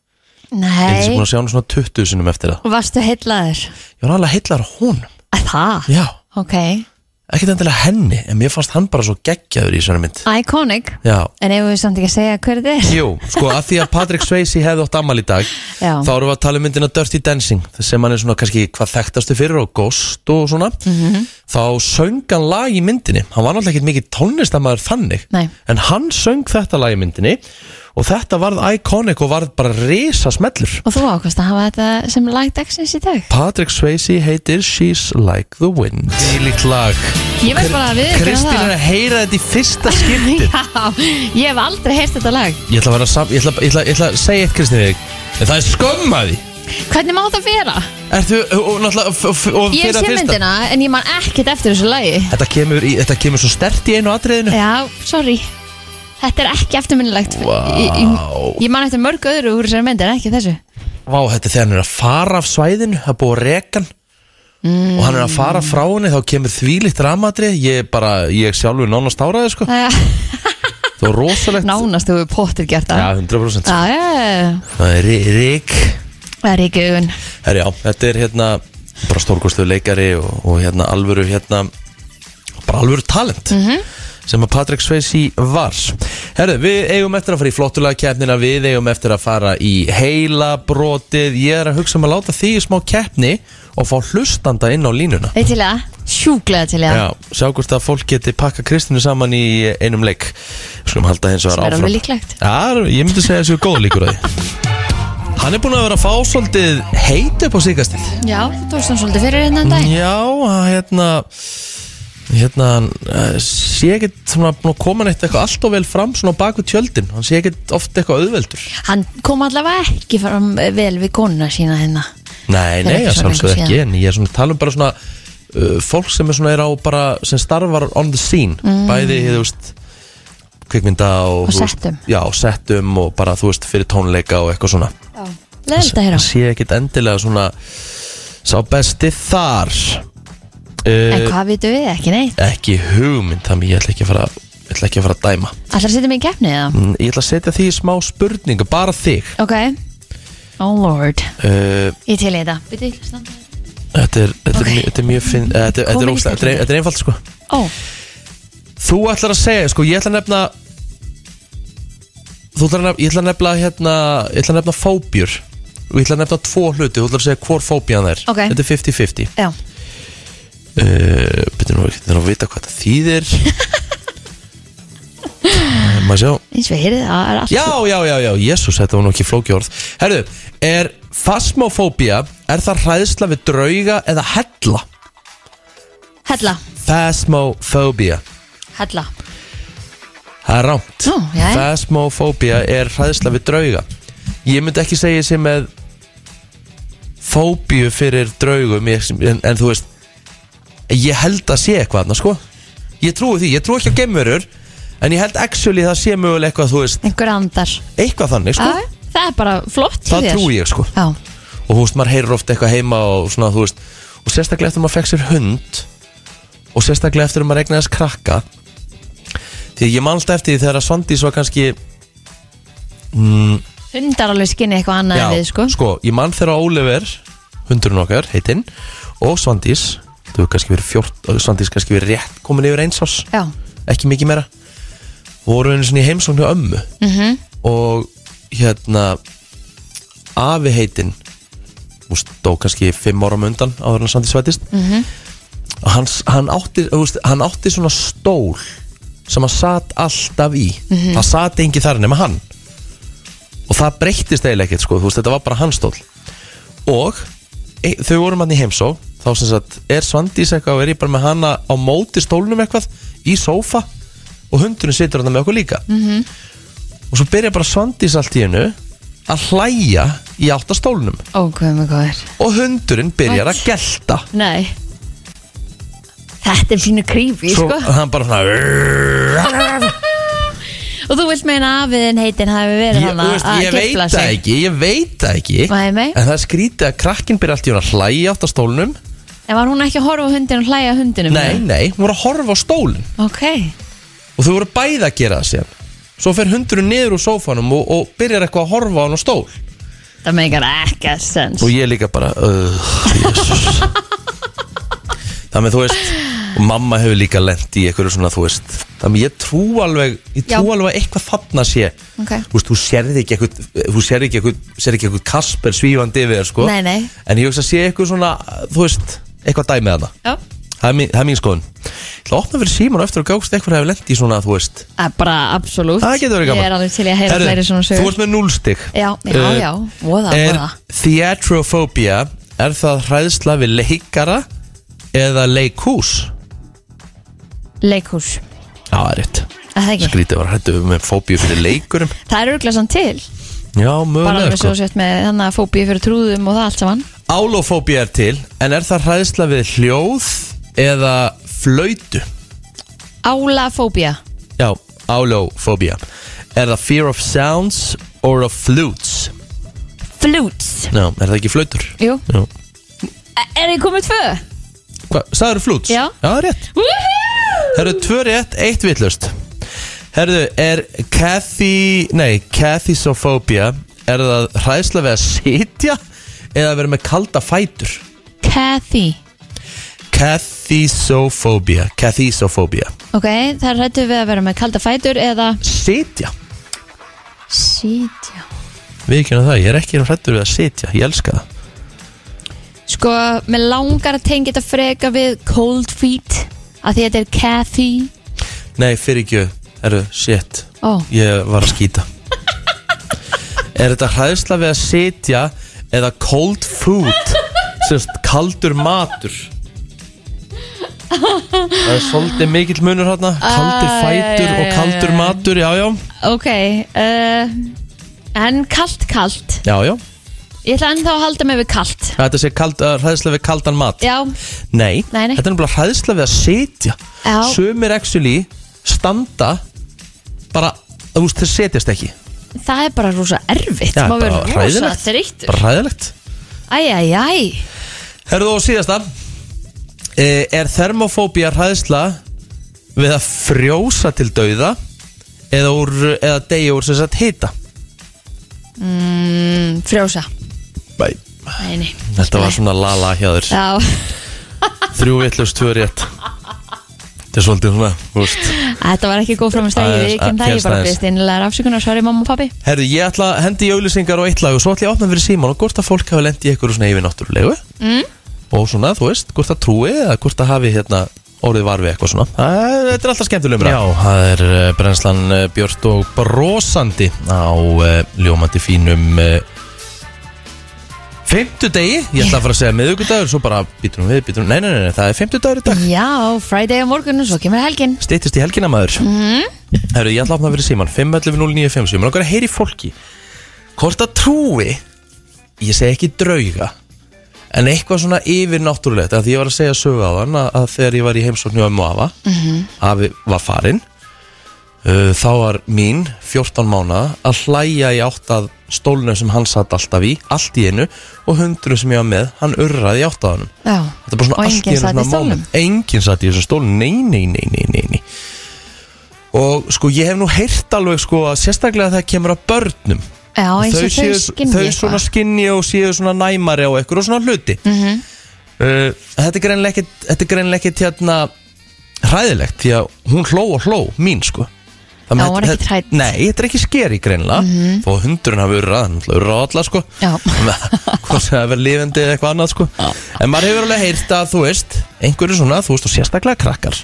Ég er Nei, búin að sjá hann svona 20 sinum eftir það varstu heillaður? Ég var alveg heillar á honum, Að Það? já, Ok, ekkert endilega henni En mér fannst hann bara svo geggjaður í svona mynd iconic Já, En ef við samt ekki að segja hver þetta er Jú, sko að því að Patrick Swayze hefði átt amal í dag Já. þá erum við að tala um myndina Dirty Dancing sem hann er svona kannski hvað þekktastu fyrir og Ghost og svona Mhm. þá söng hann lag í myndinni hann var náttúrulega ekkert mikið tónlistamæður þannig Nei. en hann söng þetta lag í myndinni og þetta varð iconic og varð bara risa smellur Og þú ákvæmst að hafa þetta sem lagdagsins í dag Patrick Swayze heitir She's Like the Wind Ílíkt lag Ég verð bara að við Kristín er að heyra þetta í fyrsta skipti Já, ég hef aldrei heyrst þetta lag Ég ætla að, vera sam- ég ætla, ég ætla, ég ætla að segja eitt Kristín við þig. En Það er skömmaði Hvernig má það vera? Ertu, og náttúrulega f- f- og Ég fyrir sé að fyrsta myndina en ég man ekkert eftir þessu lagi Þetta kemur, í, þetta kemur svo stert í einu atriðinu Já, sorry Þetta er ekki eftirminnilegt ég, ég- ég man eftir mörg öðru úr þessari mynd en ekki þessu Vá, þetta er þegar hann er að fara af svæðinu Það er búið að reka hann Og hann er að fara frá henni, þá kemur þvílitt ramatrið Ég bara, ég sjálfur nánast áraði sko. Æja, Það var rosalegt Eh, Nánast þú hefur pottir gert Já, það 100% Já, já, já Það er rík Það er ekki augun Herri, já, þetta er hérna bara stórkostuðu leikari og, og hérna alvöru hérna bara alvöru talent Mhm. sem að Patrick Sveisi var Herri, við eigum eftir að fara í flottulega keppnina við eigum eftir að fara í heila brotið, ég er að hugsa um að láta því í smá keppni og fá hlustanda inn á línuna Veit til það sjúklega til ég Já, sjá hvort að fólk geti pakka Kristínu saman í einum leik Við skulum halda hins vegar Sem er áfram alveg líklegt. Já, ég myndi segja þessu góð líkur að því Hann er búinn að vera að fá svolítið heit upp á síkastið Já, þú tókst hann svolítið fyrir hérna en dag Já, að hérna Hérna, hann eh, sé ekkert svona búinn að koma neitt eitthvað allt og vel fram svona á bak við tjöldin, hann sé ekkert oft eitthvað auðveldur Hann kom allavega ekki fram eh, vel við konuna sína hérna Nei, Fyrir nei, ekki að sjálfsögðu svo lengur ekki síðan. En ég er svona að tala um bara svona uh, Fólk sem er svona er á bara Sem starfar on the scene Bæði, þú veist Kvikmynda og, Mm. Og þú veist, settum. Já, settum og bara, þú veist, fyrir tónleika og eitthvað svona Leðilt að heyra Sé ekkit endilega svona Sá besti þar En uh, hvað vitum við? Ekki neitt Ekki hugmynd Þannig ég ætla ekki að fara Ég ætla ekki að fara að dæma Allar sittum í keppni eða? Mm, Ég ætla að setja því í smá spurningu Bara þig Ok Oh lord uh, Ég til í þetta Bíddu, standa. hérna. Þetta er, þetta er, Ok. mjög- þetta er mjög finn eh, Þetta þetta er Kom ekki óslega Þetta er- sterkari. þetta er einfalt sko Ó, Þú ætlar að segja, sko, ég ætla að nefna Þú ætlar að nefna, ég ætla að nefna hérna, ég ætla að nefna fóbjur og ég ætla að nefna tvo hluti, þú ætlar að segja hvor fóbjan er Ok. Þetta er 50-50 já uh, Byrju nú, ég ætla að vita hvað það þýðir Eh, Maður sjá Eins og ég heyrið Það er allt Já, já, já, já, jésús, þetta var nú ekki flóki orð Herðu, er fasmofóbía, er það hræðsla við drauga eða hella? Hella Fasmofóbía Hella Það er rámt Nú, jæja. Phasmophobia er hræðsla við drauga Ég myndi ekki segja sem með Fóbíu fyrir draugum ég, en, en þú veist Ég held að sé eitthvað þarna, sko Ég trúi því, ég trúi ekki á gemurur En ég held actually það sé mögulega eitthvað þú veist Einhver andar Eitthvað þannig, sko Æ, Það er bara flott hjá Það þér. trúi ég, sko Já og þú veist, maður heyrir ofta eitthvað heima og svona, þú veist, og sérstaklega eftir að maður fekk sér hund og sérstaklega eftir að maður egnaðist krakka því að ég man alltaf eftir því þegar að Svandís var kannski Hundar alveg skinni eitthvað annað en við sko ég man þegar Oliver hundurinn okkar, heitinn og Svandís, þú hefur kannski verið fjort Svandís kannski verið rétt komin yfir eins ás Já ekki mikið meira voru einu sinni í heimsókn hjá ömmu -hmm. og hérna afi heitinn þú veist, dó kannski fimm ára undan áður en Sandi svætist -hmm. og hans, hann, átti, þú veist, hann átti svona stól sem hann satt alltaf í það satt engi þar nema hann og það breyttist eiginlega ekkert sko, þú veist, þetta var bara hans stól og e, þau vorum hann í heimsó þá sem sagt, er Svandís eitthvað og er ég bara með hana á móti stólnum eitthvað í sófa og hundurinn situr hann með okkur líka Mhm. -hmm. og svo byrja bara Svandís allt í hennu að hlæja í átt að stólnum Ó, hvað með góður og hundurinn byrjar að gelta Nei Þetta er fínu creepy svo sko hann bara svona Og þú vilt meina afiðin heitin hafi verið ég, hann þú veist, að ég veit gifla það sig ekki ég veit það ekki Nei, nei. en það er skrítið að krakkinn byrja allt í hennu að hlæja í átt að stólnum En var hún ekki að horfa á hundin og hlæja að hundinum? nei, nei, hún voru að horfa á stólinn Ok og þau voru bæði að gera það síðan svo fer hundurinn niður úr sófanum og, og byrjar eitthvað að horfa á hann á stól Það meikar ekki að sens og ég líka bara öh, jésus það með þú veist og mamma hefur líka lent í eitthvað svona þú veist það með ég trú alveg ég trú Já. alveg að eitthvað þarna sé Ok. þú veist, þú sérði ekki eitthvað þú sérði ekki eitthvað, sérði ekki eitthvað Kasper svífandi yfir þér, sko Nei, nei. en ég hugsa að sé eitthvað svona þú veist, eitthvað dæmið hana Já það er mín, það er mín skoðun ég ætla að opna fyrir síman og eftir að gást eitthvað hefur lent í svona þú veist Það er Eh, bara absolutt Það getur verið gaman Ég er alveg til í að heyra Herðu, fleiri svona Þú sögur ert með núlstig Já, já, já, voða, Er voða. theatrophobia Er það hræðsla við leikara Eða leikhús Leikhús Já, það er rétt Er Það ekki Skrítið var hrættu með fóbíu fyrir leikurum Það er örglega sann til Já, Bara mögulega alveg svo sko. sett með þannig að fóbíu fyrir trúðum og það allt saman Álofóbía er til En er það hræðsla við hljóð Eða flöytu Álafóbía Já, álofóbía Er það fear of sounds Or of flutes Flutes Já, er það ekki flöytur Jú Já E- Er ég komið tvö? Hvað, sagður flutes? Já. Já, það er rétt Woohoo! Herru, tvö rétt, eitt vittlust Herru, er Kathy, nei, Kathysophobia Er það hræðsla við að sitja Eða að vera með kalda fætur Kathy Kathysophobia Kathysophobia Ok, það er rættu við að vera með kalda fætur eða Sitja sítja Við ekki það, ég er ekki hrættur við að sitja Ég elska það Sko, mér langar að tengja þetta freka við cold feet að því þetta er Kathy Nei, fyrir ekki, eru, shit Ó. Ég var að skýta Er þetta hræðsla við að sitja eða cold food Sérst, kaldur matur Það er svolítið mikill munur hérna Kaldir Æ, fætur æ, æ, og kaldur æ, æ. matur, já, já Ok, uh, en kalt, kalt Já, já, Ég ætla ennþá að halda mig við kalt þetta sé kald, uh, hræðsla við kaldan mat Já, Nei, Nei, nei. þetta er náttúrulega hræðsla við að sitja Já. Sumir actually standa bara, þú veist, þeir setjast ekki það er bara rosa erfitt Já, Má bara vera rosa hræðilegt. þreyttur Bara hræðilegt Æ, æ, æ Herðu og síðasta Eh, Er termofóbía hræðsla við að frjósa til dauða eða, úr, eða deyja úr sem sagt hita? mm, Frjósa Nei. Nei, nei Þetta var svona lala hjá þér Já, Þrjú vittlust, tvö rétt Þetta er svolítið svona, þú veist þetta var ekki góð frá mér stæði Aðeins, Ég kem að- það, ég bara aðeins. byrst innlega rafsökunar Sorry mamma og pappi Herðu, ég ætla að hendi í auðlýsingar og eitt lag og svo ætla ég að opna fyrir síman og hvort að fólk hafi lendi í einhverju svona yfir náttúrulegu mm. og svona, þú veist, hvort að trúi eða hvort að hafi hérna orðið var við eitthvað svona Það er- Þetta er alltaf skemmtilegum Já, það er eh, brennslan eh, Björt og brosandi á eh, ljómandi fínum Fymtudegi, ég ætla að fara að segja miðugudagur svo bara býtum við, býtum, nei, nei, nei, nei, það er fymtudagur í dag Já, Friday á morgun og svo kemur helgin Stýttist í helgina maður mm -hmm. Herru, ég ætla að opna fyrir síman 5.11.09.57 Mér langar að heyri fólki Hvort að trúi Ég segi ekki drauga En eitthvað svona yfir náttúrulegt Því ég var að segja sögu á hann að, að þegar ég var í heimsóknu á Móafa mm -hmm. Afi var farinn uh, Þá var mín 14 mánaða Að hlæja í átt að stólnum sem hann satt alltaf í Allt í einu Og hundru sem ég var með Hann urraði í átt að hann Já, Þetta er bara svona Og allt í einu enginn satt svona í stólnum moment. Enginn satt í þessum stólum, nei, nei, nei, nei, nei, nei Og sko, ég hef nú heyrt alveg sko að sérstaklega þegar kemur að börnum Já, eins og þau skynni þau svona skinni og séu svona næmari á eitthvað og svona hluti mm Mhm. -hmm. uh, Þetta er greinilega ekkit, þetta er greinilega ekkit hérna hræðilegt því að hún hló og hló mín sko Já, Þannig hún að var þetta- ekkit hrædd. Mhm. Nei, þetta er ekki skeri greinlega Þó að hundurinn hafi urrað, hann náttúrulega urrað á alla sko Já. Hvort sem það verið lifandi eða eitthvað annað sko En maður hefur alveg heyrt að þú veist Einhverju svona, þú veist, og sérstaklega krakkar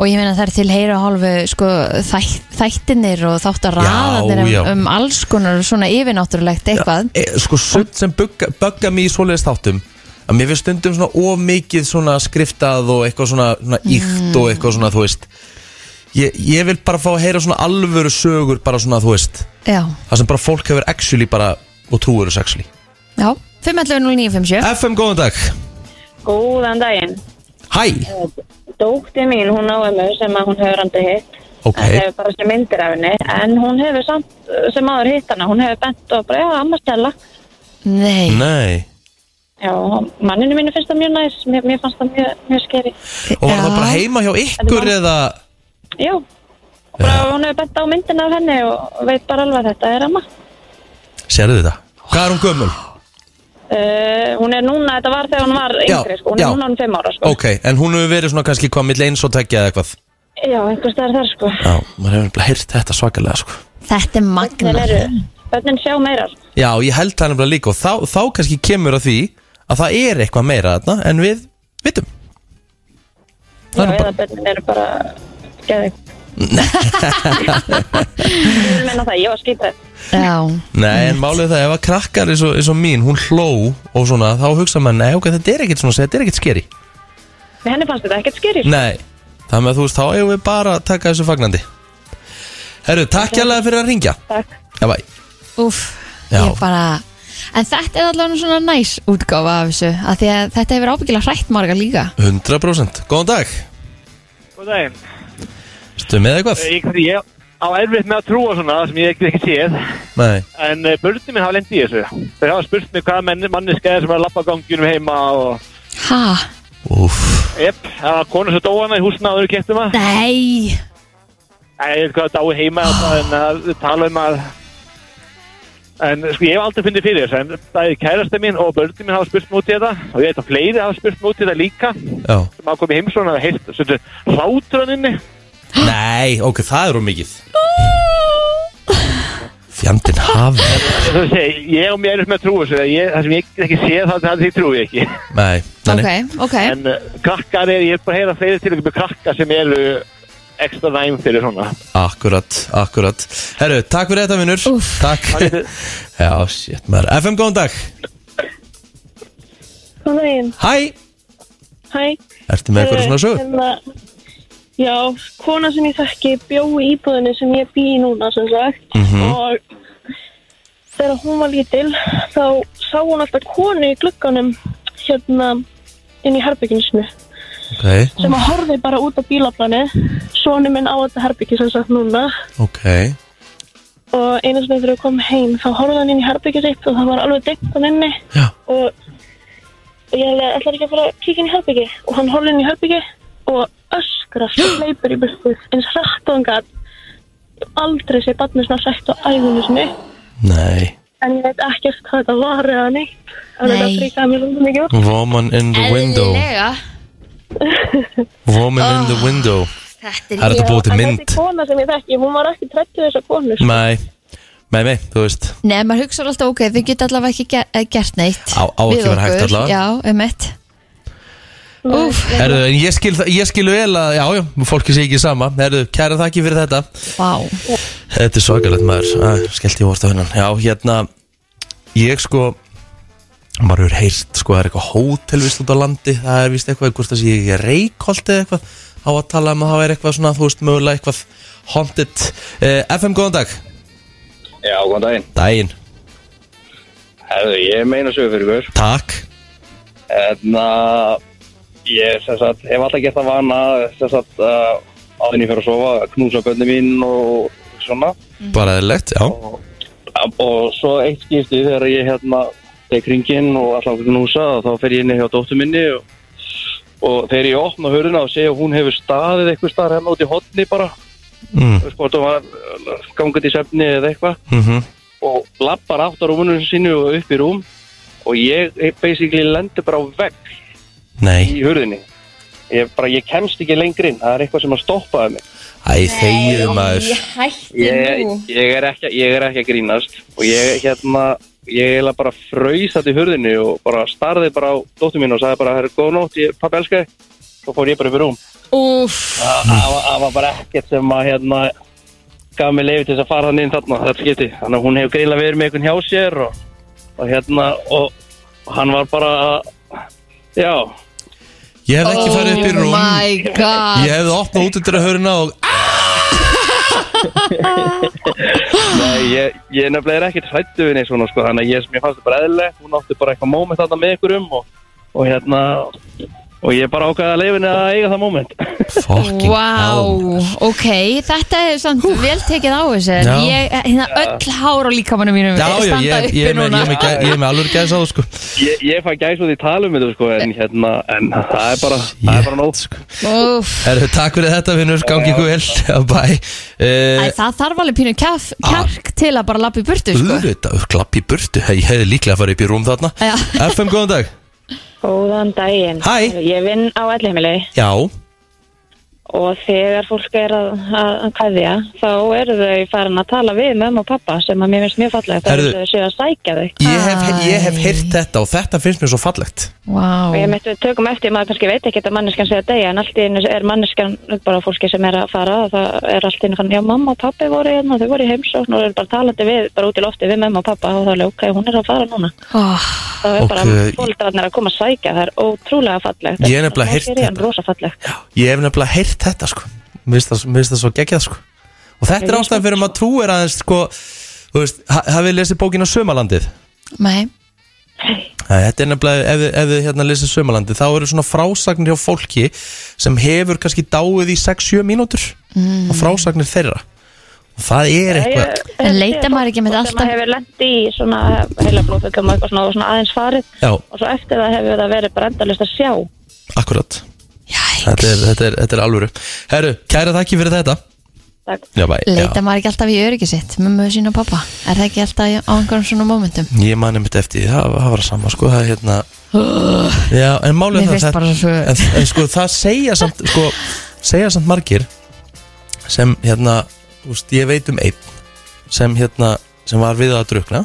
Og ég meina það er til heyra og hálfu sko, þætt, þættinir og þáttaraðanir um, Já, já. um alls konar svona yfirnáttúrulegt eitthvað e, Sko, sumt sem bugga, bugga mig í svoleiðist þáttum Að mér finnst stundum svona ómikið svona skriftað og eitthvað svona, svona íkt og eitthvað svona, þú veist ég, ég vil bara fá að heyra svona alvöru sögur bara svona, þú veist Já, Það sem bara fólk hefur actually bara og trúur þess actually já 5.11.09.57 FM, góðan dag Góðan daginn. Hæ, Dótti mín, hún á ömmu sem að hún hefur andið hitt. Ok. En hefur bara sem myndir af henni. En hún hefur samt, sem aður hitt hana, hún hefur bent og bara, já, amma stella. Nei, nei Já, manninu mínu finnst það mjög næs. Mér, mér fannst það mjög, mjög skeri. Og var það Já. bara heima hjá ykkur eða Já, bara hún hefur bent á myndina af henni og veit bara alveg að þetta er amma. Sérðu þetta? Hvað er hún gömul? Uh, hún er núna, þetta var þegar hún var yngri, sko. Hún já. er núna um fimm ára, sko. Ok, en hún hefur verið svona kannski hvað milli eins og tekja eða eitthvað Já, einhvers staðar þar, sko. Já, maður hefur bara heyrt þetta svakalega sko þetta er Þeir magna eru, bönnin sjá meira. sko. Já, ég held það nefnilega líka og þá, þá kannski kemur að því að það er eitthvað meira þarna en við vitum Já, Það er nú eða bara, börnin eru bara geðið. Ég vil menna það, ég var skipað. Já, nei, en málið er það ef að krakkar eins og, eins og mín, hún hló og svona, þá hugsa maður, nei, ok, þetta er ekkit svona þetta er ekkit skeri, Nei, henni fannst þetta ekkert skerir. nei þannig að þú veist, þá eigum við bara að taka þessu fagnandi Herru, takk hérlega fyrir að ringja Takk. Já, bæ úf Já. Ég bara En þetta er allavega svona næs útgáfa af þessu af því að þetta hefur ábyggilega hrætt marga líka 100% Góðan dag Góð daginn. Eh, Ertu með eitthvað? Ég, ég á erfitt með að trúa svona sem ég ekki, ekki séð, Nei en eh, börnin minn hafa lendið í þessu. Þau hafa spurt mig hvaða menn, manniska er sem var að lappa ganginum heima og Ha, Úf epp, það var konu sem dó hana í húsna áður kettum að. nei Ég veit hvað það dái heima og það en að tala um að En sko ég hef aldrei fundið fyrir þessu, en bæði kærasta mín og börnum mín hafa spurt mig út í þetta og ég veit að fleiri hafa spurt mig út í þetta líka sem Já hafa komið heimsóna og heilt hlátur hann inni Nei, ok, það er um mikið Fjandinn hafi Svo að segja, ég og mér erum sem að trúa þessu að ég- Það sem ég get ekki séð það, það því trúi ég ekki Nei, Ok, þannig ok En uh, krakkar er, ég er bara að heyra fleiri til ykkur krakka sem eru ekstra næm fyrir svona Akkurat, akkurat Herru, takk fyrir þetta vinnur Úff. Takk Já, shit maður FM, góðan dag Hvað er einn? Hæ Hæ? Ertu með eitthvað svona sögur? sögur? Já, kona sem ég þekki bjó í íbúðinu sem ég bý í núna sem sagt Mhm. og þegar hún var lítil þá sá hún alltaf konu í glugganum hérna inn í herbygginu sinu Ok, sem að horfi bara út á bílaplani sonu minn á þetta herbyggi sem sagt núna ok og einu sinni þegar við komum heim þá horfði hann inn í herbyggi sitt og það var alveg deitt hann inni Já, og og ég hefði ætlaði ekki að fara að kíkja inn í herbyggi og hann horfði inn í herbyggi og öskrast og hleypur í burtu eins hrætt og hann gat Ég hef aldrei sé barnið svona sætt á æfinu sinni nei en ég veit ekkert hvað þetta var eða neitt en þetta Nei. fríkaði mér svolítið mikið út Woman in the window Eðlilega Woman in the window Þetta Það er þetta búið til en mynd þessi kona sem ég þekki, hún var ekki trættu þessar konur sko. Nei, nei, nei, þú veist Nei, maður hugsa alltaf, ok, þau geta allavega ekki ger, eh, gert neitt Á- á ekki við vera hægt okkur. allavega. Já, um eitt Úf, Herru, en ég skil, það- ég skil vel að, já, já, fólki sé ekki sama Herru, kæra þakki fyrir þetta vá Þetta er svakalegt maður Æ, Skellt ég vort á hennan Já, hérna Ég sko Maður hefur heyrt sko Það er eitthvað hótel vist út á landi Það er vist eitthvað Hvort það sé ekki reikholt eða eitthvað Á að tala um að það væri eitthvað svona Þú veist mögulega eitthvað Haunted eh, FM, góðan dag Já, góðan daginn. Dæin Herðu, ég meina sögur fyrir ykkur. Takk En eh, ég sem sagt, hef alltaf gett að vana sem sagt, uh, áðin ég fyrir að sofa, að knúsa bönni mín og svona. Mhm. Bara eðlilegt, já Og svo eitt skipti þegar ég hérna tek ringin og alltaf að knúsa þá fer ég inn hjá dóttur minni og, og þegar ég opna höruna og segja að hún hefur staðið eitthvað staðar hérna út í hotni bara, mm. þú veist hvort hún var gangið í sefni eða eitthvað. Mm og lappar átt á rúmunum sínu og upp í rúm og ég ég basically lendur bara á vegg Nei í hurðinni ég, bara, ég kemst ekki lengri inn, það er eitthvað sem að stoppaði mig Æ, þegiðu maður ég, ég, er ekki, ég er ekki að grínast og ég hérna ég eiginlega bara fraus þetta í hurðinni og bara starði bara á dóttur mín og sagði bara, herru, góð nótt, ég, pappi elska þig svo fór ég bara upp í rúm Úf, það það var- það var bara ekkert sem að hérna gaf mig leiði til þess að fara hann inn þarna þetta skipti, þannig að hún hefur greinlega verið með einhvern hjá sér og, og hérna og, og hann var bara að- já, Ég hefði ekki farið upp í rúm Oh my god Ég hefði opnað út undir að hörna og nei, ég, ég nefnilega er ekkert hrættu við neitt svona sko, þannig að ég sem ég fannst þetta bara eðlilegt, hún átti bara eitthvað moment þarna með einhverjum og, og hérna og ég bara ákvaði að leiðinni að eiga það moment Fucking hell. Wow, ok, þetta er samt vel tekið á þessu en Já. ég, hérna, öll hár á líkamannu mínum Já, já, standa ég, uppi ég, er með- ég, núna er með gæ- ég er með alveg gæðs á það sko ég, ég fæ gæs út í talum þetta sko, en hérna, en það er bara það er bara nóg Úf, Herru, takk fyrir þetta vinnur, gangi ykkur vel Já, Bæ Æ, Eh, Ah. það þarf alveg pínu kjaf, kjark til að bara lappa í burtu, sko Auðvitað, klapp í burtu Hey, Ég hefði líklega að fara upp í rúm þarna Já. FM, góðan dag Góðan daginn. Hæ. Ég vinn á ellihemili Já, og þegar fólk er að, að kæðja þá eru þau farin að tala við mömmu og pappa sem að mér finnst mjög fallegt. Það Heyrðu. eru þau séu að sækja þau. ég hef, ég hef Æ. heyrt þetta og þetta finnst mér svo fallegt Vá, Og ég mitt við tökum eftir, maður kannski veit ekki að manneskan segja degi, en allt í einu er manneskan bara fólki sem er að fara, það er allt í einu fann, já mamma og pappi voru hérna, þau voru í heimsókn og eru bara talandi við, bara út í lofti við mamma og pappa og þá er ok, hún er að fara núna. oh, Það er Ok. bara fólkarnir að koma að sækja, það er ótrúlega fallegt. Ég er nefnilega heyrt hérna. þetta. Það þetta. er rosa fallegt. Ég hef nefnilega heyrt þetta sko Mér finnst það- mér finnst það svo geggjað sko Og þetta er ástæðan fyrir að maður trúir aðeins sko Þú veist, ha- hafið lesið bókina Sömalandið nei Æ, Þetta er nefnilega, ef, þið- ef þið hérna lesið sömalandi þá eru svona frásagnir hjá fólki sem hefur kannski dáið í 6-7 mínútur mm. og frásagnir þeirra og það er eitthvað En leitar maður ekki með Og alltaf- sem maður hefur lent í svona heila blóðfugum og eitthvað svona, og svona aðeins farið Já, og svo eftir það hefur það verið bara endalist að sjá. akkurat Þetta er, Jæks, þetta er, þetta er alvöru Herru, kæra þakki fyrir þetta Takk. Já, bæ, leita maður ekki alltaf í öryggi sitt með möðu sína og pappa, er það ekki alltaf í- á einhverjum svona momentum? Ég mani mitt eftir því, það, það var sama sko, það er hérna Já, en málið Mér er finnst það, bara það svo- en, en sko, það segja samt sko, segja samt margir sem hérna, þú veist, ég veit um einn sem hérna sem var við að drukna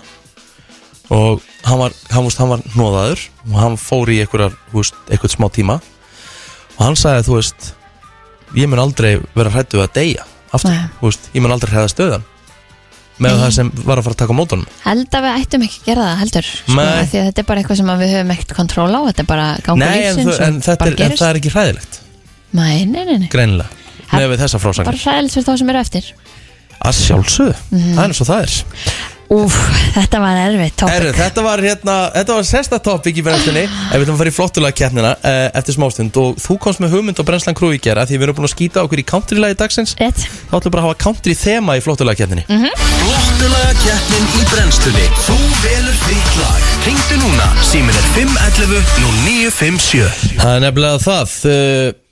og hann var, hann, veist, hann var hnoðaður og hann fór í einhverjar, þú veist, einhvern smá tíma og hann sagði, þú veist ég mun aldrei vera hrættu að deyja aftur, Nei. Mm. þú veist, ég mun aldrei hræða stöðan með það sem var að fara að taka á mótunum Held að við ættum ekki að gera það heldur sko, Nei. af Því að þetta er bara eitthvað sem að við höfum ekkert kontról á Þetta er bara gangur Nei, en, lífsins þú, og en, þetta bara er, en gerist. það er ekki hræðilegt Nei, nei, nei, nei. greinilega, Ha- með við þessa frásangar Bara hræðilegt fyrir þá sem eru eftir að sjálfsögðu, það er eins og það er Úf, þetta var erfitt topic Herru, þetta var hérna, þetta var sérsta topic í brennstunni Ef við ætlum að fara í flottulega keppnina uh, eftir smástund og þú komst með hugmynd á brennslan krú í gera því við erum búin að skýta okkur í country-lagi dagsins þá Rétt. ætlum við bara að hafa country-þema í flottulega keppninni Flottulega keppnin í brennstunni Þú velur þitt lag Hringdu núna, símin er 511 0957 Það er nefnilega það, uh,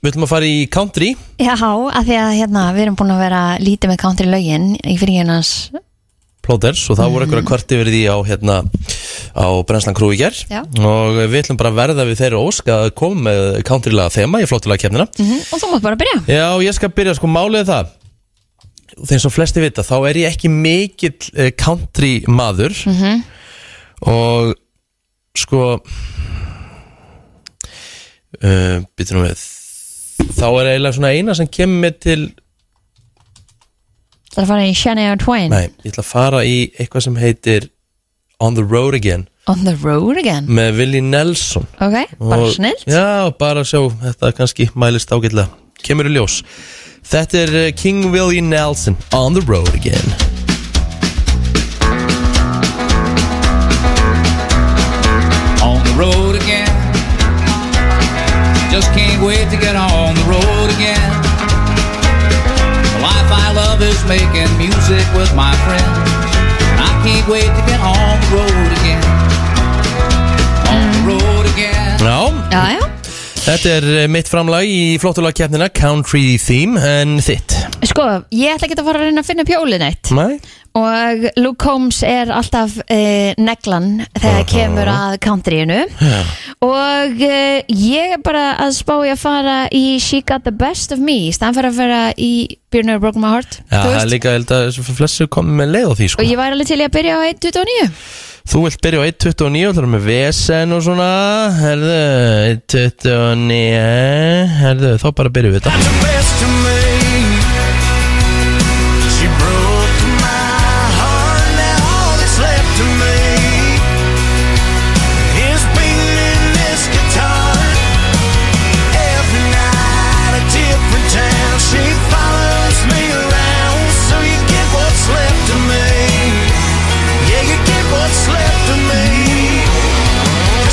við ætlum að fara í country Já, af því að hérna, við erum búin að vera lítið með country lögin í fyrir hérnans plotters og það voru einhverja kvart yfir því á hérna á brennslan krú í ger Já. og við ætlum bara að verða við þeirra ósk að koma með country-laga þema í flottulega keppnina Mhm, og þú mátt bara byrja Já, ég skal byrja sko málið er það Þeins og flesti vita, þá er ég ekki mikill eh, country maður Og sko uh, Býtum við Þá er eiginlega svona eina sem kemur mér til Það er að fara í Shania Twain Nei, ég ætla að fara í eitthvað sem heitir On the Road Again On the road again Með Willie Nelson Ok, bara Og- snill Já, bara sjá, þetta kannski mælist ágætlega Kemur í ljós Þetta er eh, King Willie Nelson On the Road Again on the road again. Just can't wait to get on the road again. The life I love is making music with my friends. And I can't wait to get on the road again. On the road again. Já, Já, já, Þetta er eh, mitt framlag í flottulagkeppnina Country Theme en þitt sko, ég ætla ekki að fara að reyna að finna pjólið neitt Nei? og Luke Combs er alltaf uh, neglan þegar kemur að countryinu og uh, ég er bara að spá ég að fara í She Got The Best Of Me í staðan fyrir að fara í Björnur Broken My Heart Já, þú það er veist. líka held að þessu flestu komið með leið á því sko og ég væri alveg til í að byrja á 1.29 Þú vilt byrja á 1.29 Það er með vesen og svona Herðu, 1.29 Herðu, þá bara byrjum við þetta The best of me She broke my heart Now all that's left to me Is being in this guitar Every night a different town She follows me around So you get what's left of me Yeah, you get what's left of me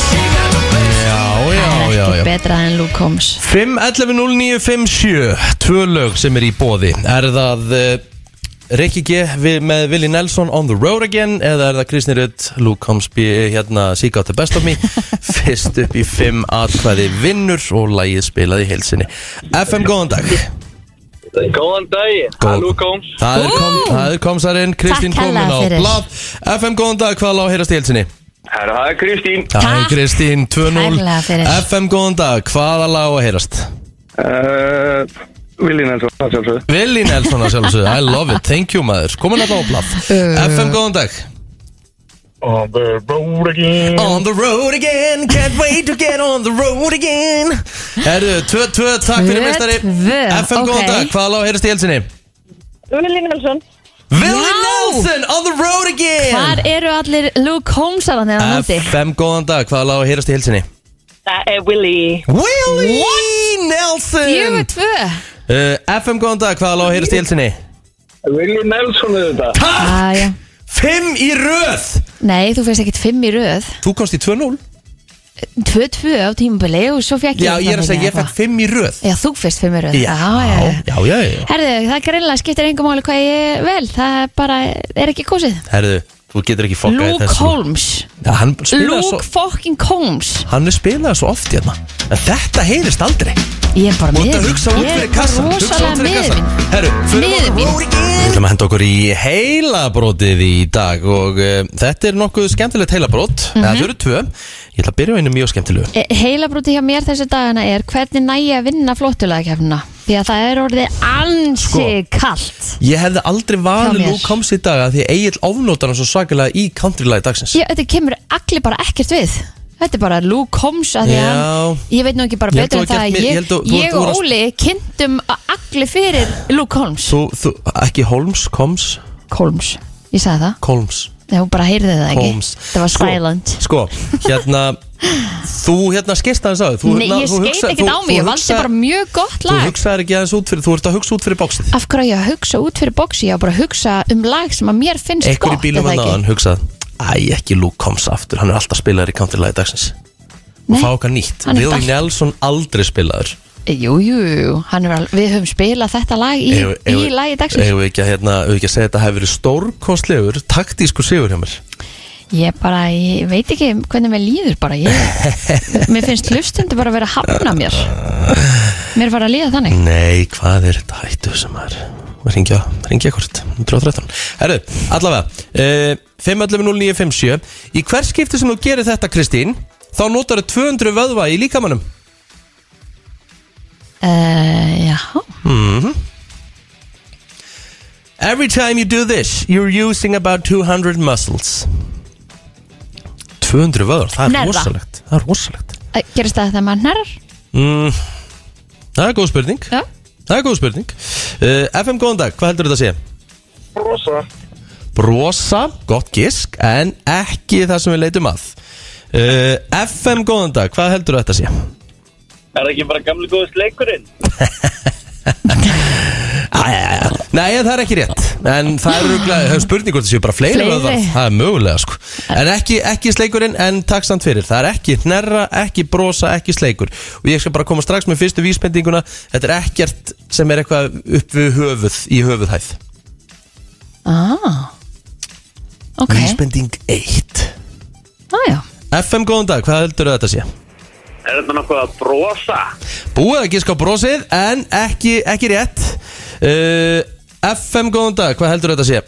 She got the best Já, já, það já, er já ekki betra en Luke Combs 5.11.09.57 Tvö lög sem er í bóði Er það uh, Rikki G við, með Willi Nelson on the road again eða er það Kristni Rutt, Luke Comsby hérna Seek out the best of me fyrst upp í 5 atkvæði vinnur og lægið spilaði í heilsinni FM góðan dag Góðan dag, Góð- Halló Góms Það er, kom, það er komsarinn Kristín Takk komin á kærlega fyrir. blad FM góðan dag, hvað lág heyrast í heilsinni? Herra, það er Kristín Hæ Takk Kristín, 2-0 kærlega fyrir. FM góðan dag, hvaða lág að heyrast? uh, Willi Nelson, það sjálfsögðu Willi Nelson að sjálfsögðu, I love it, thank you maður Komin að það á blad FM góðan dag On the road again On the road again, can't wait to get on the road again Herðu, 2-2, takk fyrir Tvö, mestari tvö, FM góðan ok. dag, hvaða lág heyrist í helsinni? Willi Nelson Willie Já. Nelson, on the road Hvar again eru allir Luke Combs að hann þegar úti? FM góðan dag, hvaða lág heyrist í helsinni? Það er Willi Willie Nelson Fjögur tvö uh, FM góðan dag, hvaða lág heyrist í helsinni? Willi Nelson er þetta Takk, Ah, já. 5 í röð Nei, þú fyrst ekkit fimm í röð Þú komst í 2-0 2-2 á tímabili og svo fekk ég Já, ég er að þannig segja, ég eitthvað. fekk 5 í röð Já, þú fyrst fimm í röð já, já. já, já, já. Herðu, það greinlega skiptir engum máli hvað ég vel Það er bara er ekki kosið Herðu, þú getur ekki fokkað í Luke þessu Holmes Já, Hann spilaði Luke svo fucking Holmes Hann er spilað svo oft hérna En þetta heyrist aldrei Ég er bara Þú miður ert að hugsa út Ég er fyrir bara kassan Hugsa rosalega út fyrir miður kassan mín. Herru, fyrir Miður mín. Við ætlum að henda okkur í heilabrótið í dag Og uh, þetta er nokkuð skemmtilegt heilabrót Mhm. mm Það eru tvö Ég ætla að byrja á einu mjög skemmtilegu E- Heilabrúti hjá mér þessu dagana er Hvernig næ ég að vinna flottulega kefnina Því að það er orðið ansi kalt Ég hefði aldrei valið mér. Luke Combs í dag að Því Egil ofnótar hann svo svakalega í countrylæði dagsins ég, Þetta kemur allir bara ekkert við Þetta er bara Lou Combs að því að Já. hann, ég veit nú ekki bara Ég held betur þú en hafir það gert að mér- ég ég, held þú- þú- ég þú og varst- Óli kynntum allir fyrir Lou Combs Þú, þú, ekki Holmes, Combs, Combs, ég sagði það Combs Nei, hún bara heyrði það ekki Combs Það var Sko- silent Sko, hérna Þú hérna skeirt aðeins á þau Þú, Nei, hérna, ég þú skeit hugsa- ekkert þú- á þú mig, ég valdi hugsa- bara mjög gott Þú lag hugsaðir ekki aðeins út fyrir, þú ert að hugsa út fyrir bóksið Af hverju á ég að hugsa út fyrir bóksi Ég á bara að hugsa um lag sem að mér finnst Ekkur í gott bílum er hann það að hann ekki? hugsað Æ, ekki Luke Combs aftur, hann er alltaf spilaður í countrylæði dagsins Nei. Og fá okkar nýtt Hann er Willie alltaf- Nelson aldrei spilaður Jú, jú, jú, hann er alveg, við höfum spilað þetta lag í, Eigum- í eigum- lagi dagsins eigum við ekki að, hérna, eigum við ekki að segja að þetta hefur verið stórkostlegur Taktískur sigur hjá mér Ég bara, ég veit ekki hvernig mér líður bara ég, Mér finnst hlustundu bara að vera að hafna mér Mér var að líða þannig Nei, hvað er þetta hættu sem er Ringja, ringja hvort 113 Herru, allavega uh, 512957 Í hvers skipti sem þú gerir þetta, Kristín Þá notar þú 200 vöðva í líkamannum uh, Já, Every time you do this You're using about 200 muscles 200 vöðvar, það er Nerva. rosalegt Það er rosalegt Eh, gerist það þegar maður nærrar? mm, Það er góð spurning Já, Það er góð spurning uh, FM, góðan dag, hvað heldur þetta að segja? Rosa brosa, gott gisk en ekki það sem við leitum að uh, FM góðan dag hvað heldur þetta sé? Er ekki bara gamli góðist leikurinn? Nei, það er ekki rétt en það er ruglega, það er spurning hvort það séu bara fleiri, Fleiri. vöðvar. það er mögulega sko en ekki, ekki sleikurinn en takk samt fyrir það er ekki hnerra, ekki brosa, ekki sleikur og ég skal bara koma strax með fyrstu vísbendinguna þetta er ekkert sem er eitthvað upp við höfuð í höfuðhæð ah, ok Vísbending 1 ah, já. FM góðan dag, hvað heldur þetta sé? Er þetta nokkuð að brosa? Búið að giska á brosið en ekki, ekki rétt uh, FM góðan dag, hvað heldur þetta sé?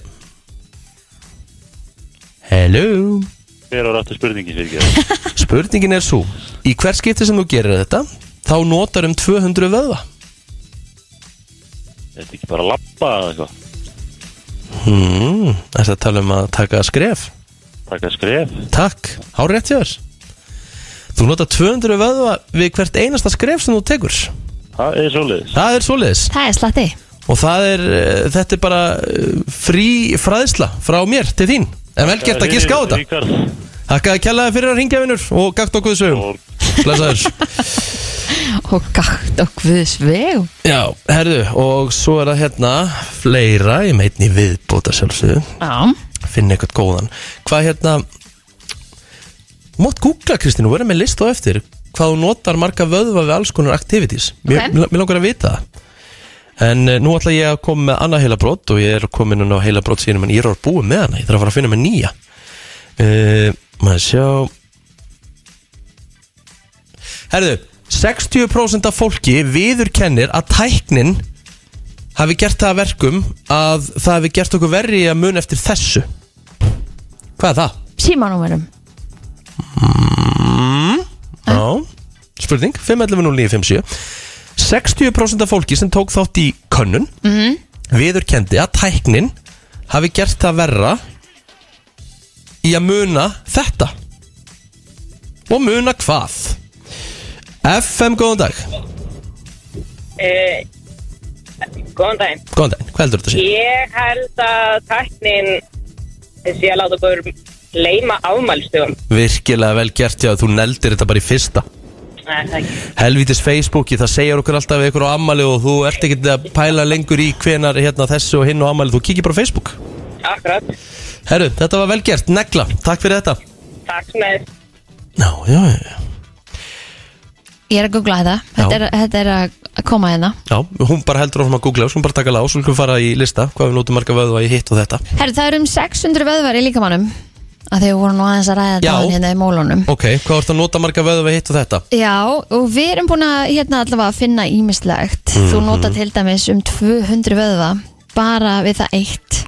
Hello Hver var aftur spurningin fyrir ekki? Spurningin er svo Í hver skipti sem þú gerir þetta þá notar um 200 vöðva Er þetta ekki bara að lappa eða eitthvað? hmm, Það er að tala um að taka skref Taka skref? Takk, hár rétt hjá þér Þú notar 200 vöðva við hvert einasta skref sem þú tekur Það er svolítið. Það er svoleiðis Það er slatti Og það er, eh, þetta er bara eh, frí fræðsla frá mér til þín En vel gert að giska á þetta Ríkard, Þakka að kjallaði fyrir að ringja vinnur og gakt okkur sögum Blessaður Og gakt og guðs veg Já, herðu, og svo er það hérna fleira, ég meit ný viðbóta sjálfsögðu, Já, finn eitthvað góðan Hvað hérna Mátt googla Kristín og vera með list og eftir hvað þú notar marga vöðva við alls konar activities Ok. mér, mér langar að vita það En uh, nú ætla ég að koma með annað heilabrót og ég er komin núna á heilabrót síðan en ég er að búið með hana, ég þarf að fara að finna með nýja uh, Maður sjá Herðu, 60% af fólki viður kennir að tæknin hafi gert það að verkum að það hafi gert okkur verri í að mun eftir þessu Hvað er það? símanúmerum Já, spurning 511957 60% af fólki sem tók þátt í könnun mm -hmm. viðurkendi að tæknin hafi gert það verra í að muna þetta og muna hvað FM, góðan dag Uh, góðan daginn. Góðan dag, hvað heldur þetta sé? Ég held að tæknin sé að láta okkur leima afmælstugum. Virkilega vel gert já, þú neldir þetta bara í fyrsta Nei, það ekki. Helvítis Facebooki, það segjar okkur alltaf við ykkur á ammali og þú ert ekkert að pæla lengur í hvenar hérna, þessu og hinn og ammali þú kikir bara á Facebook Akkurat. Herru, þetta var vel gert, negla, takk fyrir þetta Takk með. Já, já, já, Ég er að googla þetta Þetta er, þetta er að koma hérna já, hún bara heldur áfram að googla, hún bara taka lág, svo hún fara í lista, hvað við notum marga vöðva í hitt og þetta Herru, það eru um 600 vöðvar í líkamannum að því við vorum nú aðeins að ræða Já. þetta áðan hérna í mólunum Ok, hvað ertu að nota marga vöðva í hitt og þetta? Já, og við erum búin að hérna allavega að finna ímislegt Þú Mhm. nota til dæmis um 200 vöðva bara við það eitt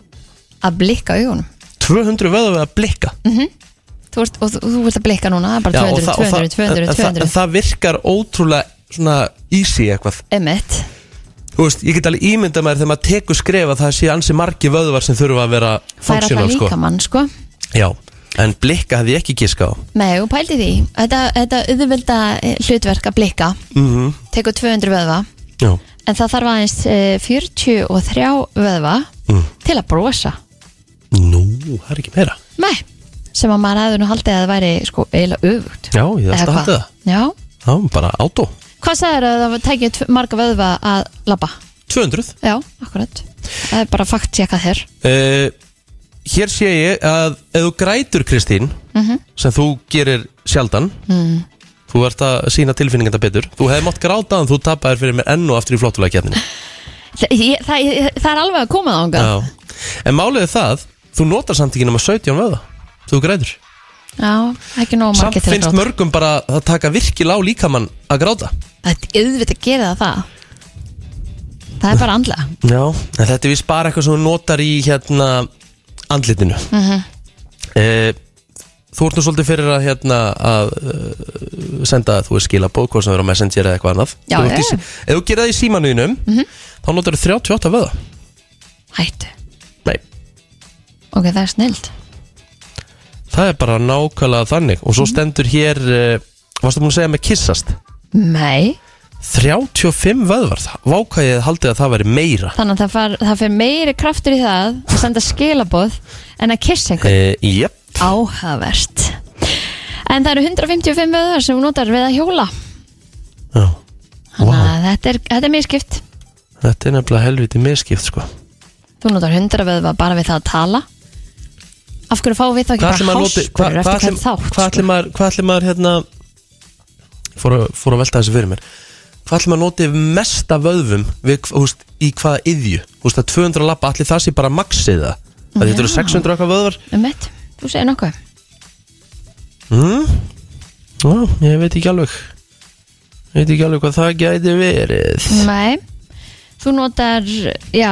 að blikka augunum 200 vöðva við að blikka þú ert, og þú, þú ert að blikka núna, það er bara Já, og 200, það- og það- 200, en- 200, en það- 200 En það virkar ótrúlega svona easy eitthvað Emmett þú veist, ég get alveg ímynda mér þegar maður tekur skref að það sé ansi margi vöðvar sem þurfa að vera færa functional, það sko. líka mann sko Já, en blikka hefði ég ekki giska á Nei, og pældi því Þetta, þetta auðvölda hlutverk að blikka mm -hmm. tekur 200 vöðva Já, en það þarf aðeins eh, 43 vöðva Mm. til að brosa nú, það er ekki meira Nei, sem að maður hefði nú haldið að það væri sko eiginlega öfugt Já, ég Eða þarst að hvað? hætti það Já, Já, bara átó hvað sagður að það tækja tv- marga vöðva að labba? 200 Já, akkurat Það er bara fakt ég að þér uh, Hér sé ég að ef þú grætur Kristín Mhm. sem þú gerir sjaldan mm. þú ert að sína tilfinninganda betur þú hefði mátt gráta en þú tapaðir fyrir mér enn og aftur í flottulega kefninu það, ég, það, ég, það er alveg að koma það ánga Já. En málið er það, þú notar samt ekki nema 17 vöða, þú grætur Já, ekki nóg Samt margir til að finnst gráta mörgum bara að taka virkil á líkamann að gráta Það er auðvitað að gera það það Það er bara andlega Já, en þetta er vist bara eitthvað sem þú notar í hérna andlitinu mm Eh, Þú ert nú svolítið fyrir að, hérna, að uh, senda, þú veist, skila bók hvort sem verður á Messenger eða eitthvað annað Já, Þú ert í já. sí- Ef þú gerir það í símanuðinum Mhm. þá notar þú 38 vöða Hættu, Nei, ok, það er snild það er bara nákvæmlega þannig og Mhm. svo stendur hér uh, varstu búin að segja með kissast Nei, 35 vöðvar, vákæðið haldið að það væri meira þannig að það, far, það fer meiri kraftur í það að senda skilaboð en að kissa einhvern uh, Jep, Áhagvert En það eru 155 vöðar sem hún notar við að hjóla Já. Þannig að þetta er, þetta er miskipt þetta er nefnilega helviti miskipt sko Þú notar 100 vöðva bara við það að tala Af hverju fáum við þá ekki Hvað ætlum bara maður noti- hvað- háskur hvað eftir hvern ætlum- þátt sko? Hvað ætlum maður, hvað ætlum maður hérna fór, að- fór að velta þessu fyrir mér Hvað ætlum maður notið mesta vöðvum við, húst, í hvaða yðju húst, að 200 lappa, allir það sé bara maxið það að þetta eru Já. 600 okkar vöðvar Um mitt, þú segir nokkuð mm? Já, ég veit ekki alveg Ég veit ekki alveg hvað það gæti verið Nei, þú notar já,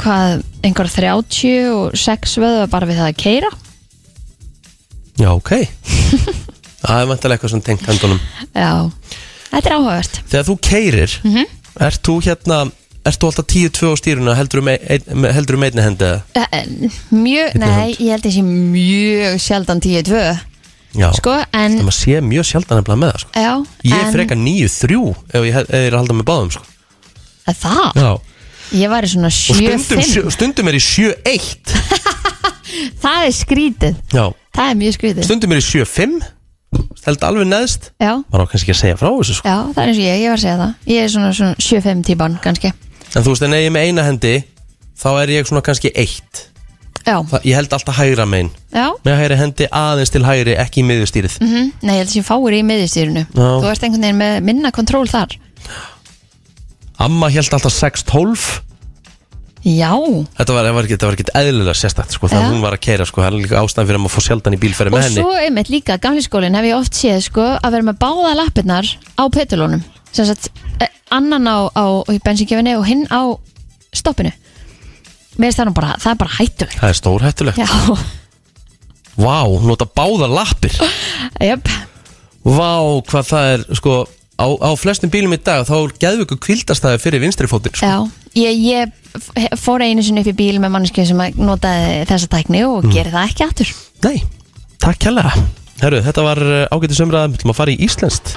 hvað einhver 36 vöðva bara við það að keira Já, ok Það er vantilega eitthvað sem tengt hendunum Já, þetta er áhagvert Þegar þú keirir, mm Mhm. -hmm. ert þú hérna Ert þú alltaf 10-2 á stýruna heldur um, ein, heldur um einni hendi eða? Eh, Mjög, nei, ég held að ég sé mjög sjaldan 10-2 Já. Sko, en Það maður sé mjög sjaldan nefnilega með það sko. Já, Ég en- en... frekar 9-3 ef ég hef- ef ég er að halda með báðum sko. Er Það? Já. Ég var í svona Og stundum, 7-5 sjö- stundum er ég 7-1 Það er skrítið Já. Það er mjög skrítið Stundum er ég 7-5 Stelt alveg neðst Já, Maður á kannski ekki að segja frá þessu sko. já, það er eins og ég, ég var að segja það Ég er svona, svona 7-5 típan, kannski En þú veist, en ef ég er með eina hendi Þá er ég svona kannski 1 Já, Það, Ég held alltaf hægra megin já Með hægri hendi aðeins til hægri, ekki í miðustýrið mm Nei, ég held að ég fáir í miðjustýrinu Já. Þú ert einhvern veginn með minna kontról þar Amma held alltaf 6-12 Já, Þetta var, var, ekki- þetta var ekkert eðlilega sérstakt sko, Þegar Já. hún var að keira, sko, það er líka ástæðan fyrir að maður fór sjaldan í bílferði og með henni svo einmitt líka gamli skólinn hef ég oft séð sko að vera með báða lappirnar á petulónum sem sagt, eh, annan á, á bensingefinni og hinn á stoppinu Mér finnst það nú bara, það er bara hættulegt Það er stórhættulegt Já, Vá, hún nota báða lappir jöp Vá, hvað það er sko, á, á flestum bílum í dag þá er geðvöku kvildastæði fyrir vinstri fótinn sko. Já, ég, ég f- fór einu sinni upp í bíl með mannskið sem að notaði þessa tækni og mm. gerði það ekki aftur Nei, takk kjærlega Herru, þetta var ágætið sömrað Við ætlum að fara í Íslenskt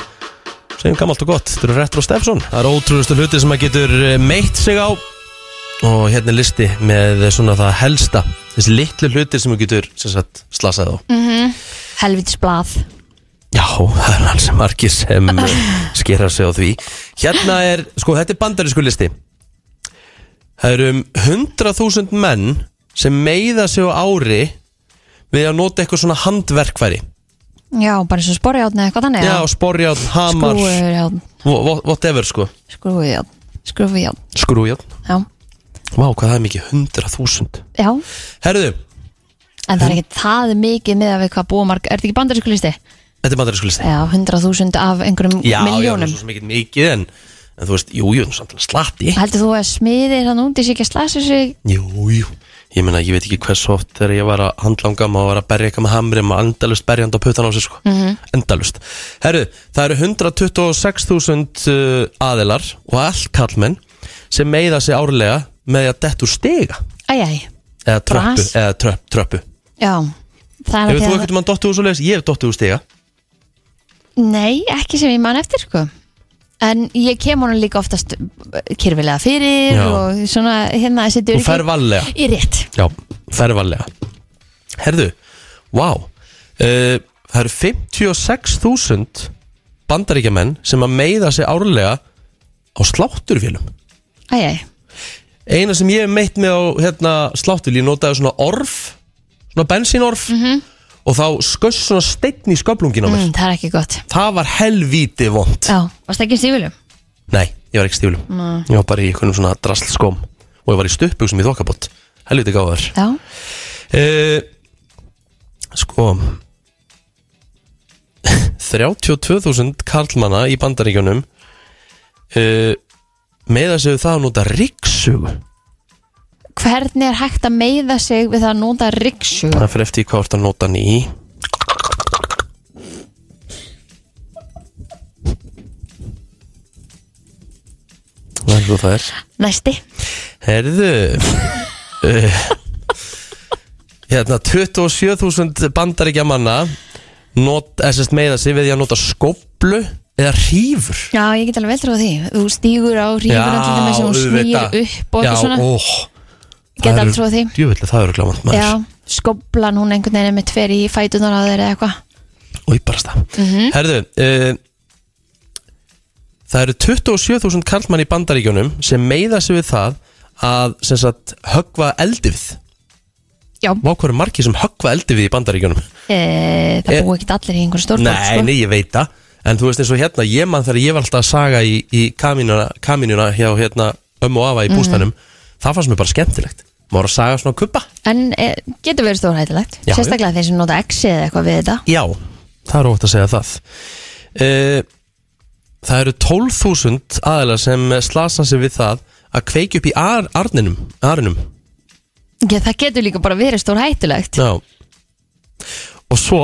Segjum gamalt og gott, þetta eru Retro Stefson Það eru ótrúðustu hluti sem að getur eh, meitt sig á Og hérna er listi með svona það helsta Þessi litlu hluti sem þú getur sem sagt, slasað á mm -hmm. Helvitis blað Já, það er alls margir sem eh, skera sig á því Hérna er, sko, þetta er bandarísku listi Það eru um 100.000 menn sem meiða sig á ári við að nota eitthvað svona handverkfæri Já, bara eins og sporjáðn eða eitthvað þannig Já, eða? sporjátt, hamar, Sko, eh, Skrúfujárn, wha- wha- whatever sko skrúfujárn, skrúfujárn Skrújátt Já, Vá, hvað það er mikið, 100.000 já, Herðu, en það er ekki það mikið með að við hvað búa marg Er þetta ekki bandarísku listi? þetta er bandarísku listi Já, 100.000 af einhverjum Já, miljónum já, svo mikið mikið en, en þú veist, jú, jú, samt alveg slatti Heldur þú að smiðir hann úti sér ekki að slasa sig? Jú, jú, ég meina, ég veit ekki hvers oft þegar ég var að handlanga maður var að berja eitthvað með hamri maður endalust berjandi á puttan á sig sko Mhm. endalust Herru, það eru 126.000 uh, aðilar og all kallmenn sem meiða sig árlega með því að dettu stiga Æjæj, eða tröppu, Bras. eða tröpp, tröppu. já Það er Hefur að þú því að ekkert mann dottu úr svo leiðis? Ég hef dottu úr stiga Nei, ekki sem ég man eftir sko En ég kem honum líka oftast kyrfilega fyrir Já. og svona hérna þessi Þú dörgi fer vallega Í rétt Já, fer vallega Herðu, vá wow. uh, Það eru 56.000 bandaríkjamenn sem að meiða sig árlega á slátturvélum Æjæj, Eina sem ég hef meitt með á hérna, slátturvél ég notaði svona orf svona bensínorf og þá sköss svona steinn í sköflungin á mér mm, það er ekki gott Það var helvíti vond Já, varst ekki stífilum? Nei, ég var ekki stíflum Ég var bara í einhvernum svona drasslskóm og ég var í stuppbuxum í þokkabót Helvíti gáður Já, Uh, sko 32.000 karlmanna í bandaríkjunum uh, með að segja það að nota ríksugu hvernig er hægt að meiða sig við það að nota riksu? það fyrir eftir því hvað orta nota hann í það er svo það er Næsti Herðu uh, Hérna 27.000 bandaríkja manna not, eh, sem sagt, meiða sig við því að nota skóplu eða hrífur Já, ég get alveg vel trúið því Þú stígur á rífur allir með sem hún snýr auðvitað. upp og Já, eitthvað svona ó, Ég get alveg trúið því Djúvillig, það eru glámant maður Já, skoblan hún einhvern veginn er með tver í fætunar á þeir eða eitthvað Og ég barast það Mhm. Herðu uh, Það eru 27.000 karlmann í bandaríkjunum sem meiða sig við það að sem sagt höggva eldivið Já, Vá hvað eru margir sem höggva eldivið í bandaríkjunum e, það Eh, búi ekki allir í einhvern stórborg Nei, nei, ég veit það En þú veist eins og hérna, ég mann þegar ég var alltaf að saga í, í kaminuna, kaminuna hjá hérna ömmu og afa í bústanum Það fannst mér bara skemmtilegt Má var að saga svona kubba En e, getur verið stórhættilegt Já, já. Sérstaklega þeir sem nota exi eða eitthvað við þetta Já, það er óvægt að segja það uh, Það eru 12.000 aðeila sem slasa sig við það að kveiki upp í ar, arninum, arinum Já, það getur líka bara verið stórhættulegt Já Og svo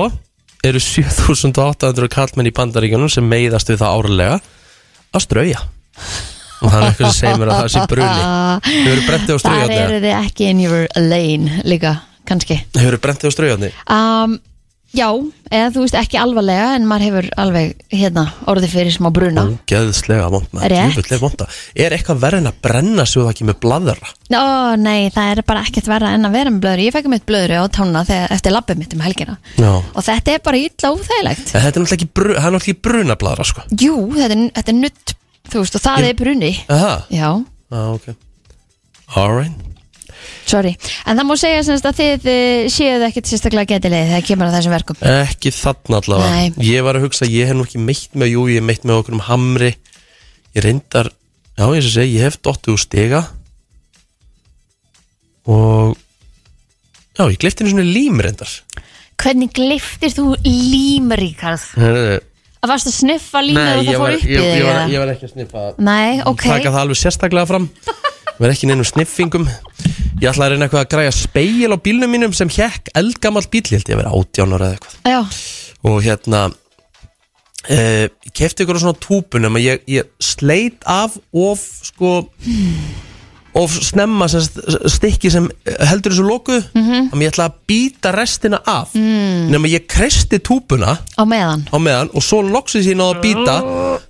eru 7800 kallmenn í bandaríkjunum sem meiðast við það árlega að strauja og það er eitthvað sem segir mér að það sé bruni Hefur verið brentið á Þar straujarni eru þið ekki in your lane líka, kannski Hefur verið brentið á straujarni um, Já, eða þú veist ekki alvarlega En maður hefur alveg hérna orðið fyrir smá bruna Mm. Ógeðslega vondna Rétt. vondna Er eitthvað verið en að brenna sig og það ekki með bladra Ó, nei, það er bara ekkert verra en að vera með blöðru Ég fekk mitt blöðru á tónna þegar, eftir labbið mitt um helgina Já Eh. Og þetta er bara illa óþægilegt En þetta er náttúrulega ekki, bru, það er náttúrulega ekki bruna bladra sko Jú, þetta er, þetta er nutt, þú veist, og það er bruni Aha, Já, ah, ok Alright sorry En það má segja semst að þið eh, séuð ekkert sérstaklega getilegið þegar kemur að þessum verkum Ekki þarna allavega Nei. Ég var að hugsa, ég hef nú ekki meitt með Jú, ég hef meitt með okkur um hamri Ég reyndar, já ég sé segja Ég hef dottu úr stiga Og Já, ég gleypti henni svona lím reyndar Hvernig gliftir þú lím, Ríkard? Nei, Að varst að sniffa límið og það ég fór var, upp í ég, ég, var, þig? ég var ekki að sniffa það. Nei, ok Taka það alveg sérstaklega fram Verð ekki í neinum sniffingum Ég ætla að reyna eitthvað að græja speil á bílnum mínum sem hekk eldgamall bíl, ég held ég að vera átjánur eða eitthvað Já, og hérna eh, ég kefti ykkur á svona túpunum að ég, ég sleit af of sko of snemma sem st- stykki sem heldur þessu loku mm -hmm. ég ætla að býta restina af mm. nema ég kresti túpuna á meðan á meðan og svo loksins ég náðu að býta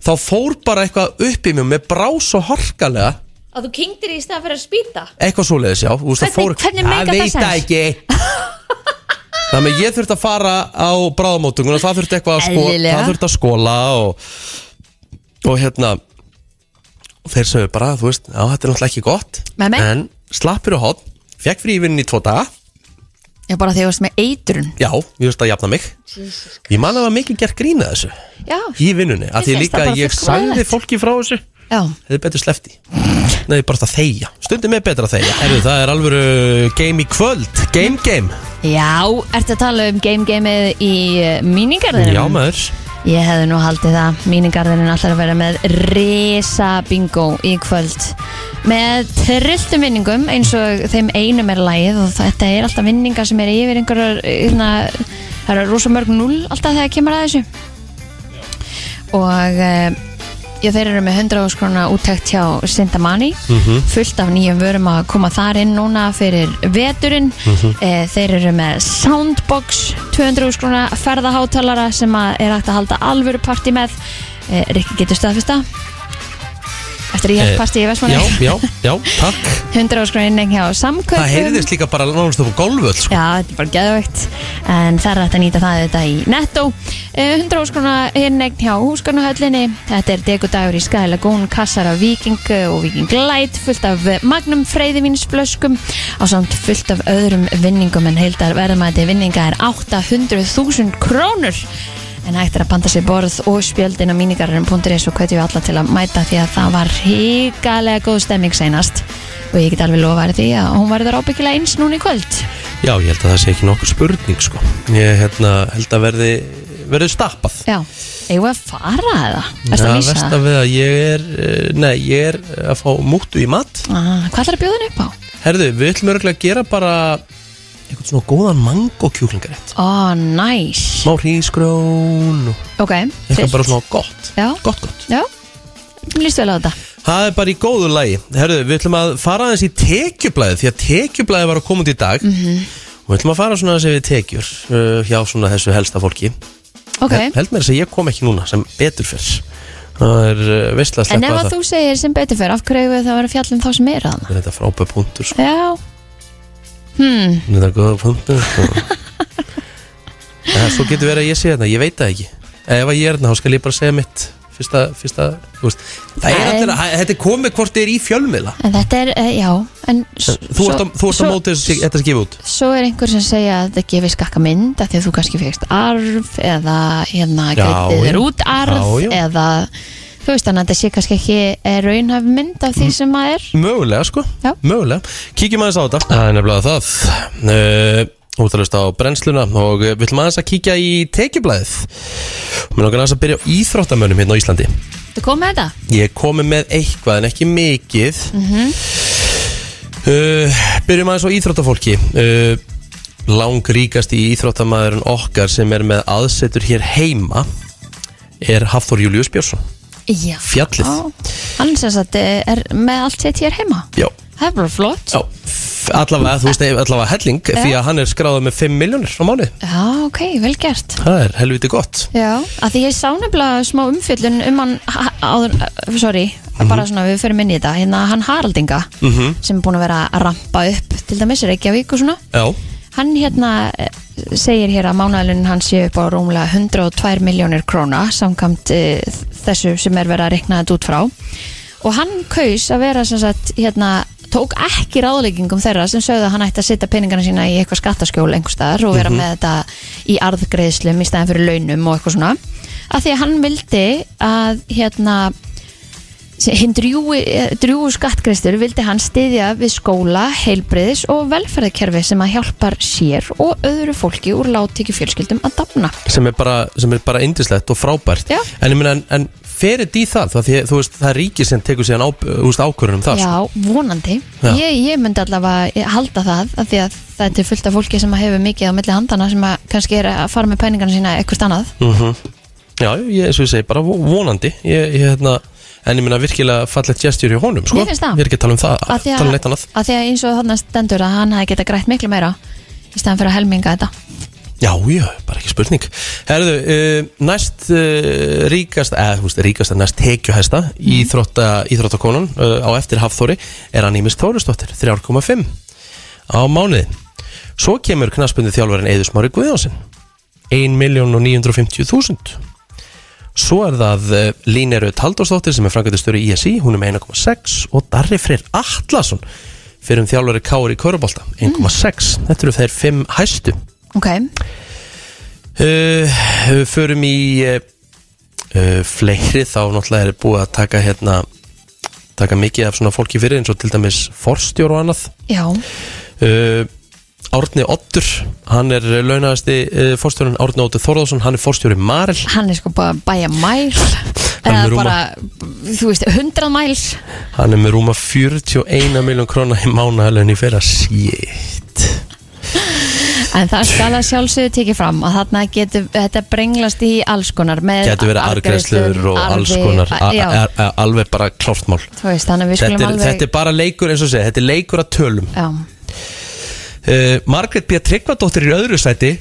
þá fór bara eitthvað upp í mig með brás og harkalega Að þú kynktir í stað fyrir að spýta eitthvað svoleiðis já Þú veist, það Hvernig- hvernig Það meikar það veit það sens? ekki Þannig að ég þurfti að fara á bráðamótunguna, það þurfti eitthvað að sko, Eðlilega. það þurfti að skóla og, og hérna og þeir sögðu bara, þú veist, já, þetta er náttúrulega ekki gott Nei, nei. en slappir og hot fekk frí í vinnunni í tvo daga Já, bara því að þú varst með eitrun já, ég veist að jafna mig ég man að það var mikið gert grína þessu Já, í vinnunni, Mér að því finnst líka það bara sko. ég fullkomlega sagði eðlilegt. fólki frá þessu já, Þið er betur slefti Nei, bara það þegja Stundum er betra að þegja Herru, það er alvöru game í kvöld Game game já Ertu að tala um game gameið í eh, míningarðinum? Já maður Ég hefði nú haldið það Míningarðurinn allar að vera með Risa bingo í kvöld Með trilltum vinningum Eins og þeim einum er lagið Og þetta er alltaf vinningar sem er yfir einhverjar hérna, Það eru rosa mörg null Alltaf þegar kemur að þessu Og eh, já, þeir eru með 100 skrona úttækt hjá Sintamani Mhm. fullt af nýjum vörum að koma þar inn núna fyrir veturinn Mhm. eh, þeir eru með Soundbox 200 skrona ferðahátalara sem að er hægt að halda alvöru partí með eh, Rikki getur staðfesta eftir ég Eh, held partí í Vestmanni Já, já, já, takk 100 skrona inning hjá samköpum Það heyrðist líka bara nánast upp á golföld sko. Já, þetta er bara geðvögt en það er hægt að nýta það þetta í netto Eh, 100 óskrona innegn hjá húsgarnahöllinni þetta er degudagur í Sky Lagoon kassar af Viking og Viking Light fullt af magnum freyðivínsflöskum á samt fullt af öðrum vinningum en heildar verðmæti vinninga er 800.000 krónur en hægt er að panta sér borð og spjöldin á mínigarurinn.is og hvetjum við alla til að mæta því að það var híkalega góð stemming seinast og ég get alveg lofaði því að hún verður ábyggilega eins núna í kvöld Já, ég held að það sé ekki nokkur spurning sko. Ég hérna, held að verði verði stappað Já, eigum við að fara eða? Erstu Já, að lýsa versta það? við að ég er eh, Nei, ég er að fá mútu í mat Ah, Hvað ætlar að bjóða henni upp á? Herðu, við ætlum örgulega að gera bara eitthvað svona góðan mango kjúklingarétt Ó, næs Má hrísgrón og Ok, eitthvað bara svona gott Já. Gott, gott Já, líst vel á þetta Það er bara í góðu lagi Herðu, við ætlum að fara aðeins í tekjublaði Því að tekjublaði var að koma út í dag Mhm. -hmm. Og við ætlum að fara svona aðeins yfir tekjur uh, Hjá svona þessu helsta fólki Ok, Hel- Held mér þess að ég kom ekki núna sem betur fyrr Það er uh, veistlega en sleppa ef að það þú segir sem betur fyrir af hverju eigum við það að vera fjallum þá sem er að hana? Það er þetta frábæð punktur sko. Já, Þetta er góða punktur sko. ja, Svo getur verið að ég sé þetta Ég veit það ekki Eh, Ef að ég er þetta, þá skal ég bara segja mitt Fyrsta, fyrsta, þú veist Það er En- allir, að- þetta er komið hvort þið er í fjölmiðla en þetta er, eh, já en s- Þú ert svo- á- þú ert á svo- móti þessu þetta skifið út Svo er einhver sem segja að þetta gefi skakka mynd að því að þú kannski fegst arf eða hérna Já, greitið já. þér út arf Já, já. eða þú veist þannig að þetta sé kannski ekki eh, raunhæf mynd Mm. af því sem maður er Mögulega sko, Já. mögulega Kíkjum aðeins á þetta Það er nefnilega það uh, Útalust á brennsluna og eh, við ætlum aðeins að kíkja í tekjublaðið Mér langar aðeins að byrja á íþróttamönnum hérna á Íslandi Þú kom með þetta? Ég er komið með eitthvað en ekki mikið uh, Byrjum aðeins á íþróttafólki uh, Langríkast í íþróttamæðurinn okkar sem er með aðsetur hér heima er Hafþór Július Björnsson Já. Fjallið. Hann sem sagt eh, er með allt sitt hér heima. Já, Það er bara flott. Já, allavega, þú veist, allavega helling því að hann er skráðið með 5 miljónir á mánu Já, ok, vel gert. Það er helviti gott Já, að því ég sá nefnilega smá umfjöllun um hann ha- áður, eh, sorry, Mhm. bara svona við förum inn í þetta, hérna hann Haraldinga sem er búin að vera að rampa upp, til dæmis Reykjavík og svona. Já, Hann hérna eh, segir hér að mánaðlunin hans sé upp á rúmlega 102 miljónir króna samkvæmt eh, þessu sem er verið að rekna þetta út frá og hann kaus að vera sem sagt hérna tók ekki ráðleggingum þeirra sem sögðu að hann ætti að setja peningana sína í eitthvað skattaskjól einhverstaðar og vera með þetta í arðgreðslum í stæðan fyrir launum og eitthvað svona af því að hann vildi að hérna hinn drjúi, eh, drjúu skattgreistur vildi hann styðja við skóla, heilbriðis og velferðarkerfi sem að hjálpar sér og öðru fólki úr láttekju fjölskyldum að dafna. sem er bara, sem er bara indislegt og frábært Já. En ég meina, en, en ferið í það, það, því, þú veist, það er ríkið sem tekur síðan á, úst, ákvörunum það sko. Já, vonandi. Já. Ég, ég myndi allavega eh, halda það af því að þetta er fullt af fólki sem að hefur mikið á milli handana sem að kannski er að fara með pæningana sína eitthvað annað. sko. Mhm. Já, ég, eins og ég segi, bara vo- vonandi ég, ég, hérna, En ég meina virkilega fallegt gestur hjá honum sko. Mér finnst það. Ég er ekki að tala um það, Af því tala um neitt annað af því að eins og þarna stendur að hann hefði geta grætt miklu meira í stæðan fyrir að helminga þetta. Já, já, bara ekki spurning Herðu, uh, næst uh, ríkast, eða þú veist, ríkast er næst tekjuhæsta íþrótta, íþróttakonan uh, á eftir Hafþóri er Anímis Þórisdóttir 3,5 á mánuði Svo kemur knaspundu þjálfarinn Eiður Smári Guðjónsson 1.950.000 Svo er það uh, Líneru Taldósdóttir sem er frangatistöru í ISI, hún er með 1,6 og Darri Freyr Atlason fyrir um þjálfari Kári Körubolta 1,6, þetta eru þeir 5 hæstu Ok, Uh, við förum í uh, uh, fleiri þá náttúrulega er búið að taka hérna taka mikið af svona fólki fyrir eins og til dæmis forstjór og annað já, uh, Árni Ottur hann er launaðasti uh, forstjórun Árni Ottur Þorðarsson, hann er forstjóri Marel hann er sko bara að bæja mæl Hann er með eða rúma- bara, þú veist, 100 mæls hann er með rúma 41 miljón krona í mánaðalun í fyrra shit En það skal að sjálfsögðu tekið fram að þarna getur þetta brenglast í alls konar með Getur verið argreðslur og arfi- alls konar a- Já, a- a- Alveg bara klart mál þú veist, þannig að við þetta skulum er, alveg þetta er bara leikur eins og segja Þetta er leikur að tölum Já, uh, Margrét B. Tryggvadóttir er í öðru sæti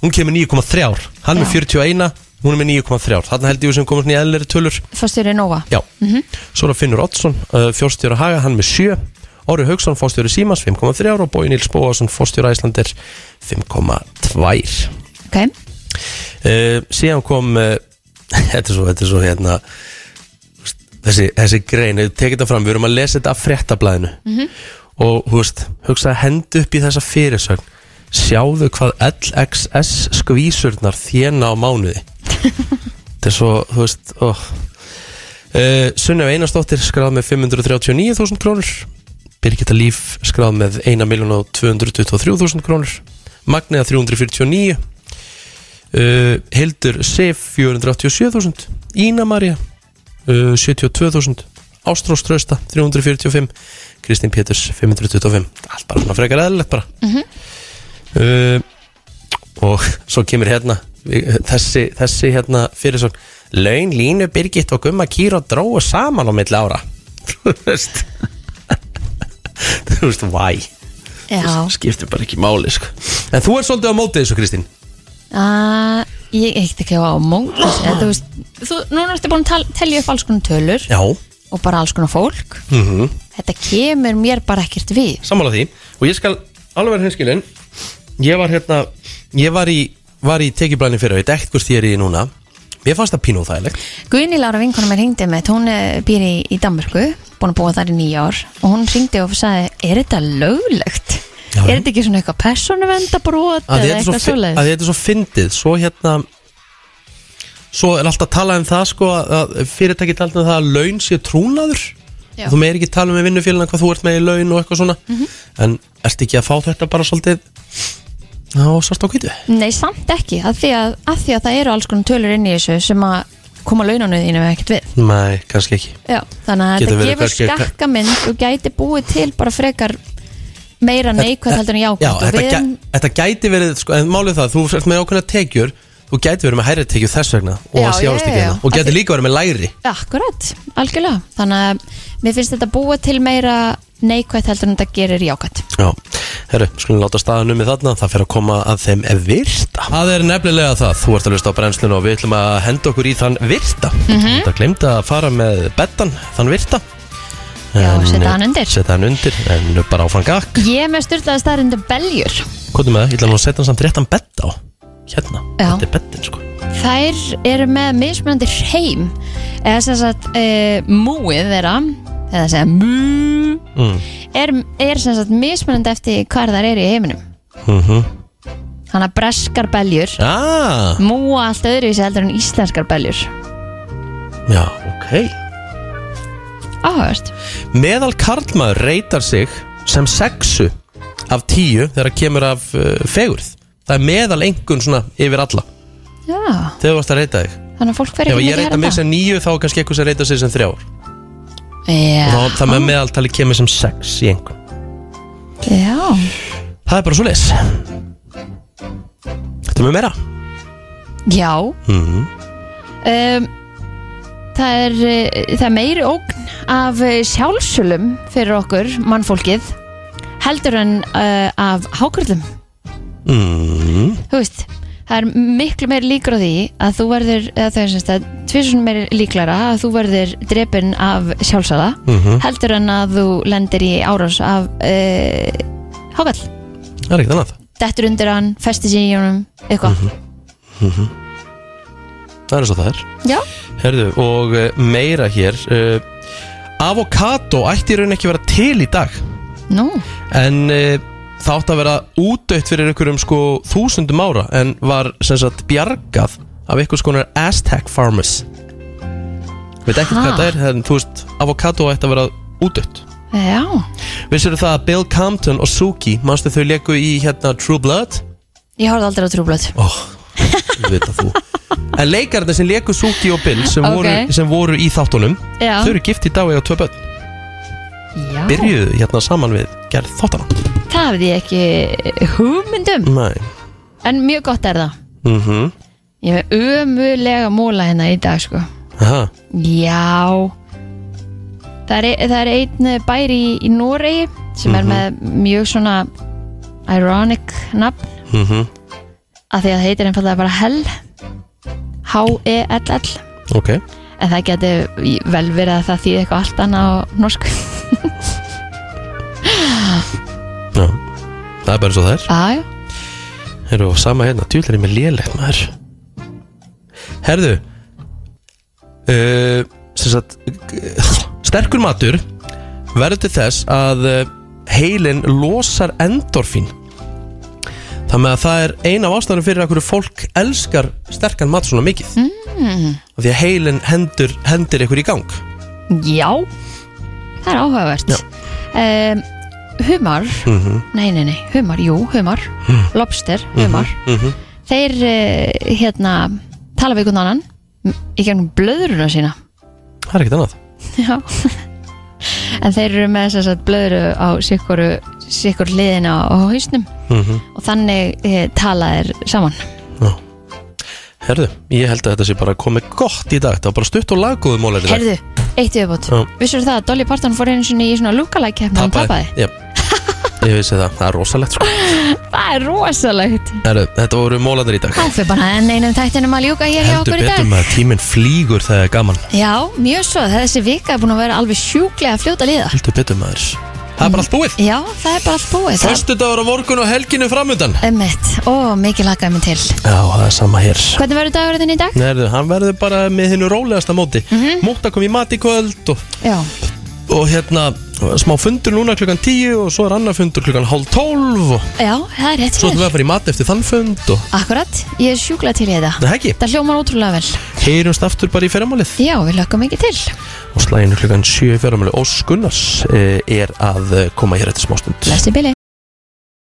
Hún kemur 9,3 Hann Já. með 41, hún er með 9,3 Þarna held ég við sem komum svona í eðlir tölur fórstjóri Nóa Já, svo er að Finnur Oddsson uh, Fjórstjóra Haga, hann með 7 Orri Haugsson, fórstjóri Símans, 5,3 Og Bói Níls Bóasson, fórstjóra Æslandir 5,2 Ok, uh, síðan kom uh, þetta er svo, þetta er svo hérna þú veist, þessi, þessi grein, við tekið þetta fram við erum að lesa þetta af fréttablaðinu og þú veist, hugsa að henda upp í þessa fyrirsögn sjáðu hvað LXS skvísurnar þjena á mánuði þetta er svo, þú veist oh. uh, Sunnef Einarsdóttir skráð með 539.000 krónur Birgitta Líf skráð með 1.223.000 krónur Magniða 349 uh, Hildur Sif 487.000 Ína Marja uh, 72.000 Ástrós Trausta 345 Kristín Péturs 525 allt bara svona frekar eðlilegt bara uh, og svo kemur hérna eh, þessi, þessi hérna fyrir svo Laun, Línu, Birgit og Gumma Kýra dróu saman á milli ára þú veist þú veist, why já skiptir bara ekki máli sko. en þú er svolítið á mótið þessu Kristín Uh, ég eitt ekki á mótis en þú veist, þú, núna ertu búin að tal- telja upp alls konar tölur já, og bara alls konar fólk mhm þetta kemur mér bara ekkert við sammála því og ég skal alveg vera hinskilin ég var hérna ég var í, var í tekiblæni fyrir veit ekkert hvort ég er í núna mér fannst það pínu þægilegt Guðni Lára vinkonum mér hringdi með hún eh, býr í, í Danmörku, búin að búa þar í nýja ár og hún hringdi og sagði, er þetta löglegt? Já. Er þetta ekki svona eitthvað persónuvendabrót að eða þetta eitthvað er svo, að svoleiðis? þetta er svo fyndið svo hérna svo er alltaf talað um það sko að- að fyrirtæki talað um það að laun sé trúnaður Já. Mhm. þú meir ekki tala um með vinnufélina hvað þú ert með í laun og eitthvað svona en ertu ekki að fá þetta bara svolítið á svart á kvítu Nei, samt ekki, að því að, að því að það eru alls konar tölur inn í þessu sem að koma launanu þínu ekkert við nei, kannski ekki Já, þannig að Getur þetta verið gefur kannski- skakka mynd og gæti búið til bara frekar meira neikvæð heldur en Já, jákvæð og þetta, við erum, gæ, þetta gæti verið, sko, en málið það, þú ert með ákveðna tekjur þú gæti verið með hærri tekjur þess vegna og Já, já, já, já, já. og Af gæti því- líka verið með læri akkurat, algjörlega þannig að mér finnst þetta búið til meira neikvæð heldur en þetta gerir jákvæð Já, herru, skulum láta staðan um með þarna það fer að koma að þeim er virta Það er nefnilega það, þú ert að lusta á brennslinu og við ætlum að henda okkur í þann virta Mhm. mm -hmm. Það glemdi að fara með bettan, þann virta eh, Já, setja hann undir. Setja hann undir, en bara áfram gakk Ég er með styrtaði staðrindu beljur Kvotum með það, ég ætla nú að setja hann samt réttan betta á Hérna, Já. þetta er bettin sko Þær eru með mismunandi hreim eða sem sagt e, múið þeirra eða segja mú mm. er, er sem sagt mismunandi eftir hvar þær eru í heiminum mm þannig að breskar beljur ah, múa allt öðruvísi heldur en íslenskar beljur Já, ok Áhört Meðal karlmaður reytar sig sem sexu af tíu þegar kemur af uh, fegurð Það er meðal engun svona yfir alla Já, þegar þú varst að reyta þig þannig að fólk fer Ef ekki ég mikið reyta herra mig sem níu þá er kannski eitthvað sem reytar sig sem þrjár Já, og það með meðaltali kemur sem sex í engun já, Það er bara svo leis Þetta er með meira já. mm -hmm. Um, Það er, eh, það er meiri ógn af eh, sjálfsölum fyrir okkur, mannfólkið heldur en uh, af hákvörlum, Mm þú veist það er miklu meiri líkur á því að þú verður, eða það er semst að tvisun meiri líklara að þú verður drepin af sjálfsala -hmm. heldur en að þú lendir í árás af uh, hákvörl Það er ekkert annað dettur undir hann, festi sér í honum eitthvað, Það er eins og það er já Herðu, og eh, meira hér uh, Avokado ætti í raun ekki að vera til í dag Nú, en e, það átti að vera útdött fyrir einhverjum sko þúsundum ára en var sem sagt bjargað af einhvers konar Aztec farmers veit ekkert Ha? hvað þetta er en þú veist, avokado ætti að vera útdött já, vissir það að Bill Compton og Suki manstu þau leku í hérna True Blood ég horfði aldrei á trúblöð oh, veit að þú en leikarnir sem leku Suki og Bill sem, Ok. voru, sem voru í þáttunum Já, þau eru gift í dag og eiga tvö börn já. byrjuðu hérna saman við gerð þáttana Það hafði ég ekki hugmyndum Nei En mjög gott er það mm -hmm. Ég er með ömulega móla hérna í dag sko Aha. Já Það er, e-, það er einn eh, bær í, í Noregi sem er með mjög svona ironic nafn Mm -hmm. af því að það heitir einfallega bara Hell H-E-L-L Ok en það geti vel verið að það þýði eitthvað allt annað á norsku Já. Það er bara svo það er Aðjó, Herru, og sama hérna, tjúlar ég með lélegt maður Herðu uh, Sem sagt Sterkur matur Verður til þess að eh, heilin losar endorfín Það með að það er eina af ástæðanum fyrir að hverju fólk elskar sterkan mat svona mikið mm. Því að heilin hendur, hendur ykkur í gang já Það er áhugavert Já. um, Humar Nei, nei, nei, humar, jú, humar Hmm. Lobster, Mhm. humar Þeir, uh, hérna tala við einhvern annan m- í gegnum blöðruna sína Það er ekkert annað Já En þeir eru með þess að blöðru á sikkur, sikkur liðina á hausnum Mhm. og þannig e, tala þeir saman Já. Herðu, ég held að þetta sé bara komið gott í dag Þetta var bara stutt og laggóðum mólæri Herðu, eitt viðbót Já. Vissur það að Dolly Parton fór einu sinni í svona lookalike keppni og hún tapaði? Já, ég vissi það, það er rosalegt sko Það er rosalegt Herru, Þetta voru mólandir í dag Það fyrir bara enn einum þættinum að ljúka hér hjá Heldur okkur í betur dag með að tíminn flýgur þegar það er gaman Já, mjög svo, þessi vika er búin að vera alveg sjúklega fljóta liða Heldur betur maður Það er bara allt búið Já, það er bara allt búið Það- Föstu dagur á morgun og helginu framundan Einmitt, ó, mikið lakaði mig til Já, það er sama hér Hvernig verður dagurinn í dag? Herðu, hann verður bara með hennu rólegasta móti mm Mhm. Móta kom í mat í kvöld og, Já, og hérna, smá fundur núna klukkan 10 og svo er annar fundur klukkan hálf 12 og já, það er svo rétt fyrir ætlum við að fara í mat eftir þann fund og Akkurat, ég er sjúklega til í þetta Nei, það ekki, Það hljómar ótrúlega vel heyrumst aftur bara í fyrramálið Já, við lökum ekki til og slæginu klukkan 7 í fyrramálið Óskunnars eh, er að eh, koma hér eftir smástund Blessi bili